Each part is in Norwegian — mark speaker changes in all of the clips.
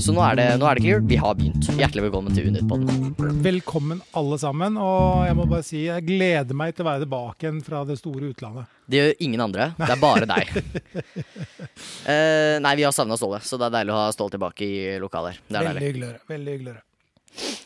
Speaker 1: Så nå er, det, nå er det ikke jul, vi har begynt. Hjertelig velkommen til Unitpodden.
Speaker 2: Velkommen alle sammen, og jeg må bare si jeg gleder meg til å være tilbake igjen fra det store utlandet.
Speaker 1: Det gjør ingen andre, det er bare deg. Eh, nei, vi har savna Ståle, så det er deilig å ha Ståle tilbake i lokalet her. Det er
Speaker 2: Veldig
Speaker 1: deilig.
Speaker 2: hyggelig å høre. veldig hyggelig å høre.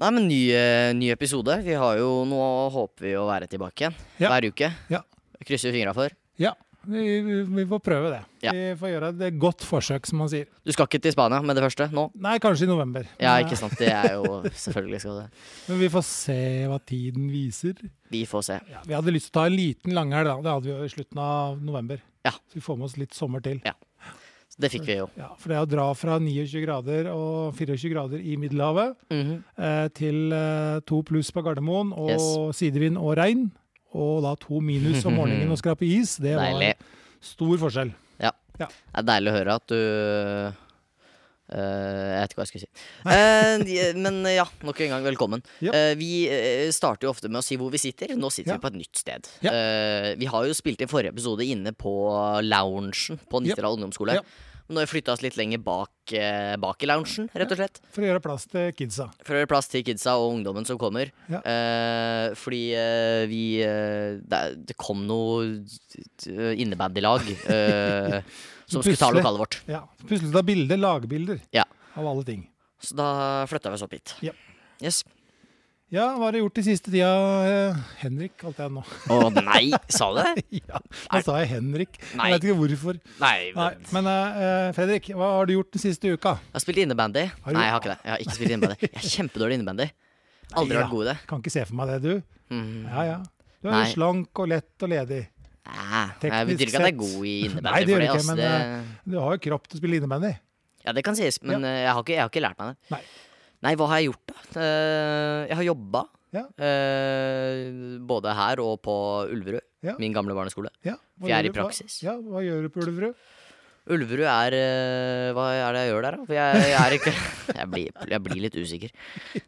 Speaker 1: Nei, men ny, eh, ny episode. Vi har jo, nå håper vi å være tilbake igjen
Speaker 2: Ja.
Speaker 1: hver uke.
Speaker 2: Ja.
Speaker 1: Krysser fingra for.
Speaker 2: Ja, vi, vi- vi får prøve det.
Speaker 1: Ja.
Speaker 2: Vi får gjøre et godt forsøk, som man sier.
Speaker 1: Du skal ikke til Spania med det første nå?
Speaker 2: Nei, kanskje i november.
Speaker 1: Ja,
Speaker 2: Men, eh,
Speaker 1: ikke sant. Det er jo selvfølgelig skal det.
Speaker 2: Men vi får se hva tiden viser.
Speaker 1: Vi får se.
Speaker 2: Ja, vi hadde lyst til å ta en liten langhelg, da. Det hadde vi jo i slutten av november.
Speaker 1: Ja.
Speaker 2: Så vi får med oss litt sommer til.
Speaker 1: Det fikk vi jo.
Speaker 2: Ja, For det å dra fra 29 grader og 24 grader i Middelhavet
Speaker 1: Mhm.
Speaker 2: eh, til eh, to pluss på Gardermoen og
Speaker 1: Yes.
Speaker 2: sidevind og regn. Og da to minus om morgenen og skrape is. Det var
Speaker 1: Deilig.
Speaker 2: stor forskjell.
Speaker 1: Det er deilig å høre at du Eh, Jeg vet ikke hva jeg skulle si. Eh, de- men ja, nok en gang velkommen.
Speaker 2: Ja.
Speaker 1: Eh, vi eh, starter jo ofte med å si hvor vi sitter. Nå sitter
Speaker 2: Ja.
Speaker 1: vi på et nytt sted.
Speaker 2: Ja.
Speaker 1: Eh, vi har jo spilt inn forrige episode inne på loungen på
Speaker 2: Ja.
Speaker 1: Nittedal ungdomsskole.
Speaker 2: Ja.
Speaker 1: Men nå har vi flytta oss litt lenger bak, eh, bak i loungen, rett og slett.
Speaker 2: For å gjøre plass til kidsa.
Speaker 1: For å gjøre plass til kidsa og ungdommen som kommer.
Speaker 2: Ja.
Speaker 1: Eh, fordi eh, vi eh, det, er- det kom noe eh, innebandylag eh, som skulle ta
Speaker 2: Plutselig.
Speaker 1: lokalet vårt.
Speaker 2: Ja. Plutselig ta bilder, lagbilder,
Speaker 1: Ja.
Speaker 2: av alle ting.
Speaker 1: Så da flytta vi oss opp hit.
Speaker 2: Ja.
Speaker 1: Yes.
Speaker 2: Ja, hva har du gjort de siste tida, eh, Henrik, kalte jeg han nå.
Speaker 1: Å nei, sa du det?
Speaker 2: ja, nå sa jeg Henrik.
Speaker 1: Nei.
Speaker 2: Jeg vet ikke hvorfor.
Speaker 1: Nei.
Speaker 2: Nei,
Speaker 1: men-
Speaker 2: men eh, Fredrik, hva har du gjort den siste uka?
Speaker 1: Jeg har spilt innebandy.
Speaker 2: Har du-
Speaker 1: Nei, jeg har ikke det. Jeg har ikke spilt innebandy. Jeg er kjempedårlig i innebandy. Aldri
Speaker 2: Ja.
Speaker 1: vært god i det.
Speaker 2: Kan ikke se for meg det, du.
Speaker 1: Mm.
Speaker 2: Ja, ja. Du er
Speaker 1: Nei.
Speaker 2: slank og lett og ledig.
Speaker 1: Nei, jeg
Speaker 2: Teknisk
Speaker 1: betyr ikke at jeg er
Speaker 2: sett.
Speaker 1: god i
Speaker 2: Nei,
Speaker 1: innebandy.
Speaker 2: det gjør
Speaker 1: for
Speaker 2: du ikke,
Speaker 1: ass,
Speaker 2: men, eh, Du har jo kropp til å spille innebandy.
Speaker 1: Ja, det kan sies, men eh, jeg, har ikke, jeg har ikke lært meg det.
Speaker 2: Nei.
Speaker 1: Nei, hva har jeg gjort, da? Eh, Jeg har jobba.
Speaker 2: Ja.
Speaker 1: eh, Både her og på Ulverud,
Speaker 2: Ja.
Speaker 1: min gamle barneskole.
Speaker 2: Ja, hva
Speaker 1: Vi er i
Speaker 2: gjør du- hva-
Speaker 1: praksis.
Speaker 2: Ja, hva gjør du på Ulverud?
Speaker 1: Ulverud er eh, Hva er det jeg gjør der, da? For jeg, jeg er ikke jeg blir, jeg blir litt usikker.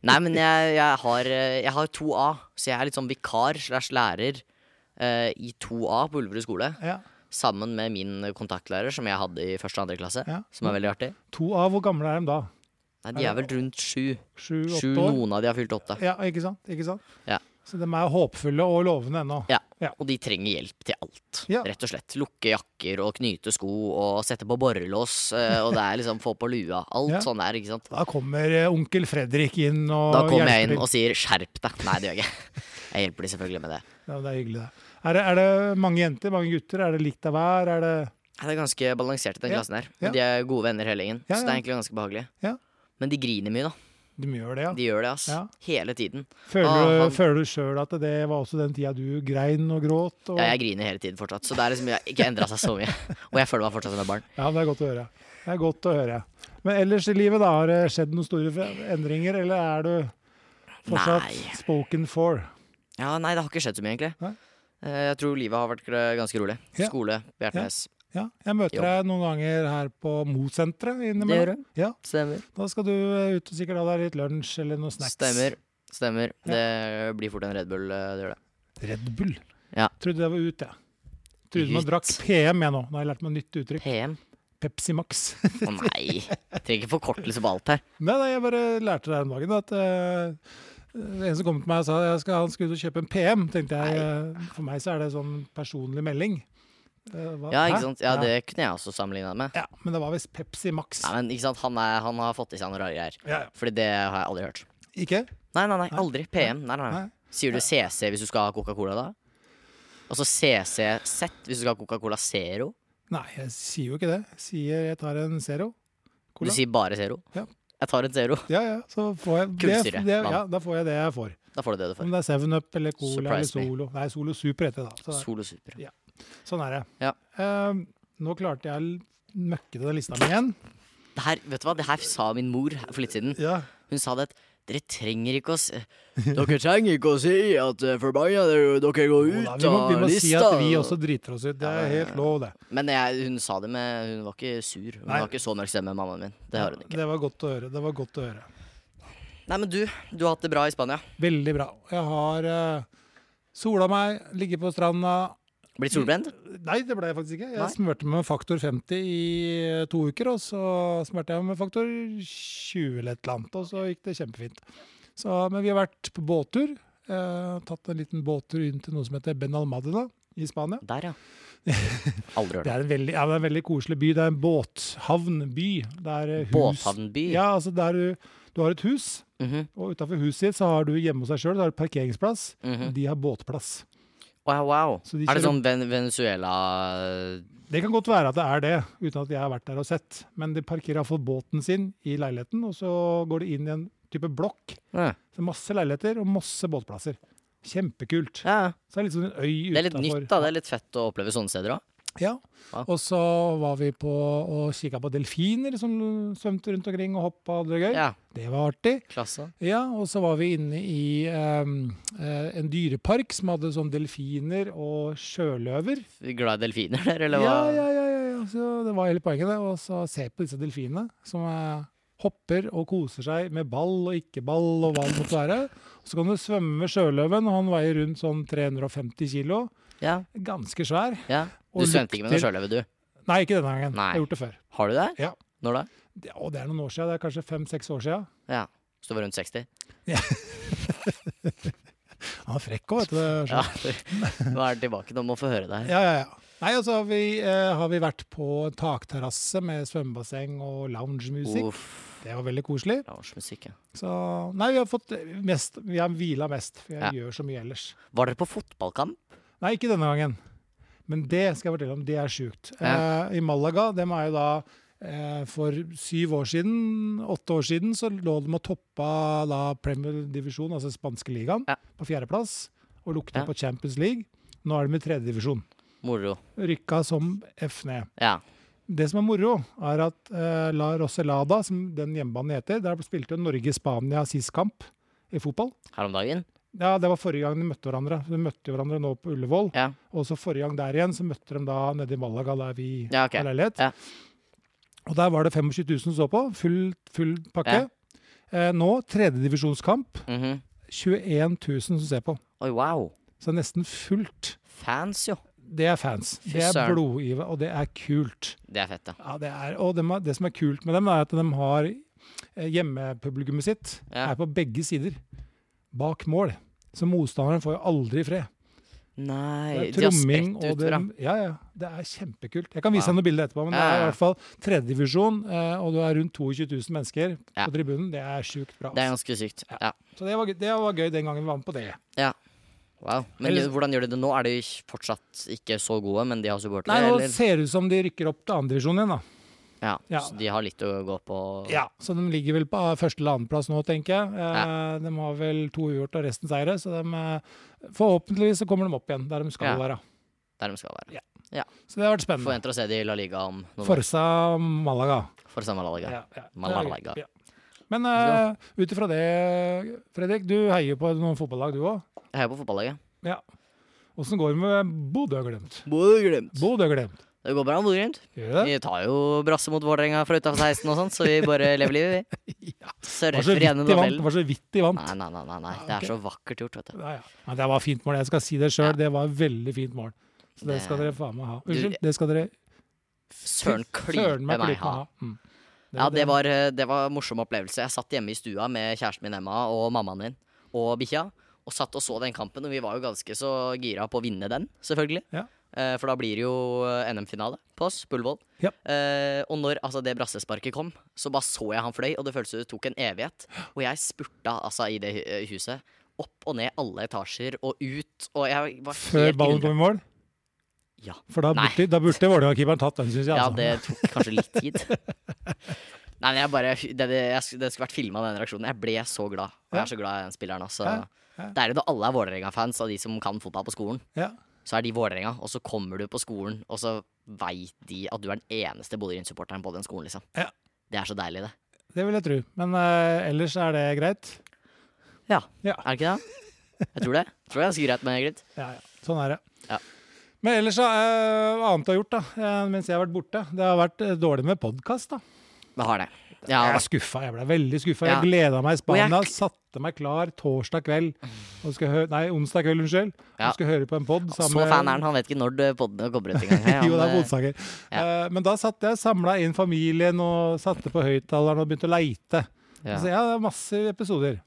Speaker 1: Nei, men jeg, jeg, har, eh, jeg har 2A, så jeg er litt sånn vikar slash lærer eh, i 2A på Ulverud skole.
Speaker 2: Ja.
Speaker 1: Sammen med min kontaktlærer, som jeg hadde i første og andre klasse.
Speaker 2: Ja.
Speaker 1: Som er veldig artig.
Speaker 2: To av hvor gamle er de da?
Speaker 1: Nei, de er vel rundt sju. Sju,
Speaker 2: Sju-åtte år?
Speaker 1: noen av de har fylt åtte.
Speaker 2: Ja, ikke sant? Ikke sant?
Speaker 1: Ja.
Speaker 2: Så de er håpfulle og lovende ennå.
Speaker 1: Ja.
Speaker 2: Ja.
Speaker 1: Og de trenger hjelp til alt,
Speaker 2: Ja.
Speaker 1: rett og slett. Lukke jakker og knyte sko og sette på borrelås, eh, og det er liksom få på lua. Alt
Speaker 2: Ja.
Speaker 1: sånn der, ikke sant.
Speaker 2: Da kommer eh, onkel Fredrik inn og
Speaker 1: Da kommer
Speaker 2: hjelper
Speaker 1: jeg inn
Speaker 2: til.
Speaker 1: og sier 'skjerp deg'. Nei, det gjør jeg ikke. Jeg hjelper de selvfølgelig med det.
Speaker 2: Ja, det er hyggelig, det. Er det, er det mange jenter, mange gutter? Er det likt av hver? Er det
Speaker 1: Nei, Det er ganske balansert i den
Speaker 2: Ja,
Speaker 1: klassen her.
Speaker 2: ja.
Speaker 1: De er gode venner hele gjengen,
Speaker 2: Ja,
Speaker 1: så det
Speaker 2: ja.
Speaker 1: er egentlig ganske behagelig.
Speaker 2: Ja.
Speaker 1: Men de griner mye, da.
Speaker 2: De gjør det, ja.
Speaker 1: De gjør det, ass.
Speaker 2: Ja.
Speaker 1: Hele tiden.
Speaker 2: Føler,
Speaker 1: Ah,
Speaker 2: du-
Speaker 1: han-
Speaker 2: føler du sjøl at det var også den tida du grein og gråt? Og...
Speaker 1: Ja, jeg griner hele tiden fortsatt, så det er liksom, jeg har ikke endra seg så mye. Og jeg føler meg fortsatt som et barn.
Speaker 2: Ja, det er godt å høre. Det er godt å høre. Men ellers i livet, da, har det skjedd noen store f- endringer, eller er du fortsatt
Speaker 1: Nei.
Speaker 2: spoken for?
Speaker 1: Ja, nei, det har ikke skjedd så mye, egentlig.
Speaker 2: Nei.
Speaker 1: Eh, Jeg tror livet har vært gr- ganske rolig.
Speaker 2: Ja.
Speaker 1: Skole, Bjertnæs.
Speaker 2: Ja, jeg møter
Speaker 1: Jo.
Speaker 2: deg noen ganger her på Mo-senteret
Speaker 1: Det gjør
Speaker 2: innimellom. Ja,
Speaker 1: Stemmer.
Speaker 2: da skal du eh, ut og sikkert ha deg litt lunsj eller noe snacks.
Speaker 1: Stemmer. Stemmer. Det blir fort en Red Bull, eh, det gjør det.
Speaker 2: Red Bull.
Speaker 1: Ja.
Speaker 2: Trodde det var ut, jeg. Trodde man
Speaker 1: Ut.
Speaker 2: drakk PM, jeg nå. Nå har jeg lært meg nytt uttrykk.
Speaker 1: PM?
Speaker 2: Pepsi Max.
Speaker 1: Å nei. Trenger ikke forkortelse på alt her.
Speaker 2: nei, nei, jeg bare lærte det her om dagen. da, At eh, en som kom til meg og sa jeg skal, han skulle ut og kjøpe en PM, tenkte jeg. eh, For meg så er det sånn personlig melding. Eh, hva-
Speaker 1: Ja,
Speaker 2: hæ?
Speaker 1: ikke sant? ja,
Speaker 2: Ja.
Speaker 1: det kunne jeg også sammenligna med.
Speaker 2: Ja, men det var visst Pepsi Max.
Speaker 1: Nei, men ikke sant, han, er, han har fått i seg noen rare greier.
Speaker 2: Ja, ja.
Speaker 1: Fordi det har jeg aldri hørt.
Speaker 2: Ikke?
Speaker 1: Nei, nei, nei, aldri. PM. Nei, nei, nei.
Speaker 2: Nei.
Speaker 1: Sier du CC hvis du skal ha Coca-Cola, da? Og så CCZ hvis du skal ha Coca-Cola Zero.
Speaker 2: Nei, jeg sier jo ikke det. Jeg sier jeg tar en Zero. Cola.
Speaker 1: Du sier bare Zero.
Speaker 2: Ja.
Speaker 1: Jeg tar en Zero.
Speaker 2: Ja, ja, så får jeg det,
Speaker 1: Kullsyre,
Speaker 2: det,
Speaker 1: mann.
Speaker 2: ja, da får jeg det jeg får.
Speaker 1: Da får du det du får.
Speaker 2: Om det er Seven Up eller Cola
Speaker 1: Surprise me.
Speaker 2: eller Solo. Nei, Solo Super heter det da. Så,
Speaker 1: Solo Super.
Speaker 2: det- sånn er det.
Speaker 1: Ja.
Speaker 2: Eh, nå klarte jeg å møkke den lista mi igjen.
Speaker 1: Det her, vet du hva, det her sa min mor her for litt siden.
Speaker 2: Ja.
Speaker 1: Hun sa det at dere trenger ikke å si Dere trenger ikke å si at eh, forbanna dere, dere går
Speaker 2: Jo
Speaker 1: ut
Speaker 2: da,
Speaker 1: av
Speaker 2: vi må, vi må
Speaker 1: lista.
Speaker 2: si at vi også driter oss ut. Det er
Speaker 1: Ja, ja,
Speaker 2: helt lov, det.
Speaker 1: Men jeg, hun sa det med Hun var ikke sur. Hun
Speaker 2: Nei.
Speaker 1: var ikke så mørk stemme, mammaen min. Det har hun ikke.
Speaker 2: Det var godt å høre. Det var godt å høre.
Speaker 1: Nei, men du, du har hatt det bra i Spania.
Speaker 2: Veldig bra. Jeg har eh, sola meg, ligget på stranda,
Speaker 1: Blitt solbrent?
Speaker 2: Nei, det ble jeg faktisk ikke. Jeg
Speaker 1: Nei.
Speaker 2: smurte meg med faktor 50 i eh, to uker, og så smurte jeg meg med faktor 20 eller et eller annet, og så gikk det kjempefint. Så, men vi har vært på båttur. Eh, tatt en liten båttur inn til noe som heter Benalmadena i Spania.
Speaker 1: Der, ja. Aldri hørt
Speaker 2: Det
Speaker 1: om.
Speaker 2: er en veldig, ja, det er en veldig koselig by. Det er en båthavnby. Det er eh, hus.
Speaker 1: Båthavnby.
Speaker 2: Ja, altså der du, du har et hus,
Speaker 1: Mhm,
Speaker 2: og utafor huset ditt så har du hjemme hos deg sjøl, så har du parkeringsplass.
Speaker 1: mhm.
Speaker 2: De har båtplass.
Speaker 1: Wow, wow.
Speaker 2: Så de
Speaker 1: Er det
Speaker 2: kjører-
Speaker 1: sånn Ven Venezuela eh,
Speaker 2: Det kan godt være at det er det, uten at jeg har vært der og sett. Men de parkerer iallfall båten sin i leiligheten, og så går de inn i en type blokk.
Speaker 1: Ja,
Speaker 2: Så masse leiligheter og masse båtplasser. Kjempekult.
Speaker 1: ja. ja.
Speaker 2: Så det er litt sånn en øy
Speaker 1: Det er litt nytt, da. Det er litt fett å oppleve sånne steder òg.
Speaker 2: Ja.
Speaker 1: Ja.
Speaker 2: Og så var vi på og kikka på delfiner som svømte rundt omkring og hoppa og hadde det gøy.
Speaker 1: Ja,
Speaker 2: Det var artig.
Speaker 1: klasse.
Speaker 2: Ja, og så var vi inne i ehm, eh, en dyrepark som hadde sånn delfiner og sjøløver.
Speaker 1: Glad i delfiner, der, eller hva?
Speaker 2: Ja, ja, ja, ja, ja. Så det var hele poenget, det. Og så se på disse delfinene som eh, hopper og koser seg med ball og ikke ball og hva det måtte være. Og så kan du svømme med sjøløven, og han veier rundt sånn 350 kilo.
Speaker 1: Ja,
Speaker 2: Ganske svær.
Speaker 1: ja. Du
Speaker 2: Og
Speaker 1: svømte ikke med noe
Speaker 2: lukter-
Speaker 1: sjøløve, du?
Speaker 2: Nei, ikke denne gangen.
Speaker 1: Nei.
Speaker 2: Jeg har gjort det før.
Speaker 1: Har du det?
Speaker 2: Ja.
Speaker 1: Når da?
Speaker 2: Det, og det er noen år siden. Det er kanskje fem-seks år siden.
Speaker 1: Ja. Så du var rundt 60?
Speaker 2: Han er frekk òg, vet du. det er
Speaker 1: Ja.
Speaker 2: sånn.
Speaker 1: Nå er det tilbake, nå må vi få høre det her.
Speaker 2: Ja, ja, ja. Nei, og så har vi, eh, har vi vært på en takterrasse med svømmebasseng og loungemusikk.
Speaker 1: Uff.
Speaker 2: Det var veldig koselig.
Speaker 1: Loungemusikk, ja.
Speaker 2: Så nei, vi har fått eh, mest Vi har hvila mest, for jeg
Speaker 1: Ja.
Speaker 2: gjør så mye ellers.
Speaker 1: Var dere på fotballkamp?
Speaker 2: Nei, ikke denne gangen. Men det skal jeg fortelle om. Det er sjukt.
Speaker 1: Ja.
Speaker 2: Eh, I Malaga, dem er jo da eh, for syv år siden, åtte år siden, så lå de og toppa da Premier Divisjon, altså spanske ligaen,
Speaker 1: Ja.
Speaker 2: på fjerdeplass. Og lukta
Speaker 1: Ja.
Speaker 2: på Champions League. Nå er de i tredjedivisjon.
Speaker 1: Moro.
Speaker 2: Rykka som F E. ned.
Speaker 1: Ja.
Speaker 2: Det som er moro, er at eh, La Roselada, som den hjemmebanen heter, der spilte jo Norge-Spania sist kamp i fotball.
Speaker 1: Her om dagen?
Speaker 2: Ja, Det var forrige gang de møtte hverandre. De møtte jo hverandre nå på Ullevål.
Speaker 1: Ja.
Speaker 2: Og så forrige gang der igjen, så møtte de da nede i Malaga, der vi
Speaker 1: Ja, ok.
Speaker 2: har leilighet.
Speaker 1: Ja.
Speaker 2: Og der var det 25 000 som så på. Full, full pakke. Eh, nå, tredjedivisjonskamp,
Speaker 1: Mhm.
Speaker 2: 21 000 som ser på.
Speaker 1: Oi, wow.
Speaker 2: Så det er nesten fullt.
Speaker 1: Fans, jo.
Speaker 2: Det er fans.
Speaker 1: Fy
Speaker 2: Det er
Speaker 1: søren.
Speaker 2: blodgive, og det er kult.
Speaker 1: Det er fett, da.
Speaker 2: Ja, det er, og dem har- det som er kult med dem, er at de har eh, hjemmepublikummet sitt
Speaker 1: Ja.
Speaker 2: er på begge sider. Bak mål. Så motstanderen får jo aldri fred.
Speaker 1: Nei,
Speaker 2: Det
Speaker 1: de
Speaker 2: er
Speaker 1: har
Speaker 2: tromming
Speaker 1: spredt
Speaker 2: og
Speaker 1: ut
Speaker 2: det,
Speaker 1: fra
Speaker 2: ja, ja, det er kjempekult. Jeg kan vise
Speaker 1: Wow.
Speaker 2: deg noen bilder etterpå, men det
Speaker 1: Ja, ja,
Speaker 2: er i
Speaker 1: ja.
Speaker 2: hvert fall tredjedivisjon, og du er rundt 22 000 mennesker
Speaker 1: Ja.
Speaker 2: på tribunen. Det er sjukt bra.
Speaker 1: Det er
Speaker 2: altså.
Speaker 1: ganske sykt. Ja.
Speaker 2: Så det var, gøy- det var gøy den gangen vi var med på det.
Speaker 1: Wow. Men
Speaker 2: Ellers-
Speaker 1: hvordan gjør de det nå? Er de fortsatt ikke så gode, men de har supportere,
Speaker 2: Nei, nå
Speaker 1: eller?
Speaker 2: ser det ut som de rykker opp til andredivisjon igjen, da.
Speaker 1: Ja.
Speaker 2: Ja.
Speaker 1: Så de har litt å gå på?
Speaker 2: Ja, Så de ligger vel på eh, første eller andreplass nå, tenker jeg. Eh, De har vel to uavgjort og resten seire, så de, eh, forhåpentligvis så kommer de opp igjen der de
Speaker 1: Ja.
Speaker 2: skal være.
Speaker 1: Der de skal være.
Speaker 2: Så det har vært spennende.
Speaker 1: Forventer å se de i La Liga om noen år.
Speaker 2: Forsa Malaga.
Speaker 1: For samme La Liga.
Speaker 2: Ja, ja.
Speaker 1: Malaga.
Speaker 2: Ja. Men uh, ut ifra det, Fredrik, du heier jo på noen fotballag du òg.
Speaker 1: Jeg heier på fotballaget.
Speaker 2: Åssen går det med Bodø glemt?
Speaker 1: Bodø-Glimt.
Speaker 2: Bodø glemt.
Speaker 1: Det går bra med Bodø-Glimt.
Speaker 2: Gjør det?
Speaker 1: Vi tar jo brasse mot Vålerenga fra utafor 16 og sånn, så vi bare lever livet, vi.
Speaker 2: Ja. Det var så
Speaker 1: Surfer
Speaker 2: vidt
Speaker 1: gjennom
Speaker 2: de vant.
Speaker 1: tabellen.
Speaker 2: Var så vidt de vant.
Speaker 1: Nei, nei, nei, nei, nei. Det er så vakkert gjort, vet du.
Speaker 2: Ja, ja. Men det var fint mål. Jeg skal si det sjøl. Det var veldig fint mål. Så det
Speaker 1: Det-
Speaker 2: skal dere faen meg ha.
Speaker 1: Du-
Speaker 2: Unnskyld, det skal dere
Speaker 1: Søren klype
Speaker 2: søren meg
Speaker 1: meg
Speaker 2: klype
Speaker 1: ha.
Speaker 2: Mm. Det
Speaker 1: Ja, det var, eh, det var en morsom opplevelse. Jeg satt hjemme i stua med kjæresten min Emma og mammaen min og bikkja. Og satt og så den kampen, og vi var jo ganske så gira på å vinne den, selvfølgelig.
Speaker 2: Ja.
Speaker 1: Eh, for da blir det jo eh, NM-finale på oss, på Ullevål.
Speaker 2: Ja.
Speaker 1: Eh, og når altså, det brassesparket kom, så bare så jeg han fløy, og det føltes som det tok en evighet. Og jeg spurta altså i det hu- eh, huset. Opp og ned alle etasjer og ut, og jeg var
Speaker 2: Før
Speaker 1: helt
Speaker 2: ballen
Speaker 1: undrende.
Speaker 2: kom i mål?
Speaker 1: Ja.
Speaker 2: For da
Speaker 1: Nei.
Speaker 2: burde, da burde Vålerenga-keeperen tatt den, syns jeg.
Speaker 1: Ja,
Speaker 2: Altså.
Speaker 1: det tok kanskje litt tid. Nei, men jeg bare Det, det, jeg, sk- det skulle vært filma, den reaksjonen. Jeg ble så glad. Og jeg er så glad i den spilleren også.
Speaker 2: Ja, ja.
Speaker 1: Deilig når alle er Vålerenga-fans, og de som kan fotball på skolen.
Speaker 2: Ja.
Speaker 1: Så er de Vålerenga, og så kommer du på skolen, og så veit de at du er den eneste Bodø-Glimt-supporteren på den skolen, liksom.
Speaker 2: Ja.
Speaker 1: Det er så deilig, det.
Speaker 2: Det vil jeg tro. Men eh, ellers er det greit.
Speaker 1: Ja.
Speaker 2: Ja.
Speaker 1: Er det ikke det? Jeg tror det. Jeg tror det er ganske greit med Grit.
Speaker 2: Ja, ja. Sånn er det.
Speaker 1: Ja.
Speaker 2: Men ellers, da, eh, hva annet jeg har gjort da, eh, mens jeg har vært borte? Det har vært eh, dårlig med podkast, da.
Speaker 1: Vi har det. Ja.
Speaker 2: Jeg er skuffa. Jeg ble veldig skuffa.
Speaker 1: Ja.
Speaker 2: Jeg gleda meg i
Speaker 1: Og jeg-
Speaker 2: Spania. Satte meg klar torsdag kveld. Og skal hø nei, onsdag kveld, unnskyld.
Speaker 1: Ja.
Speaker 2: Og skal høre på en pod.
Speaker 1: Så fan er han. Han vet ikke når det- podden kommer ut engang. Hei,
Speaker 2: jo, det
Speaker 1: han,
Speaker 2: er
Speaker 1: eh,
Speaker 2: motsaker. Eh, men da satt jeg samla inn familien og satte på høyttaleren og begynte å leite.
Speaker 1: ja.
Speaker 2: Så ja, det er masse episoder.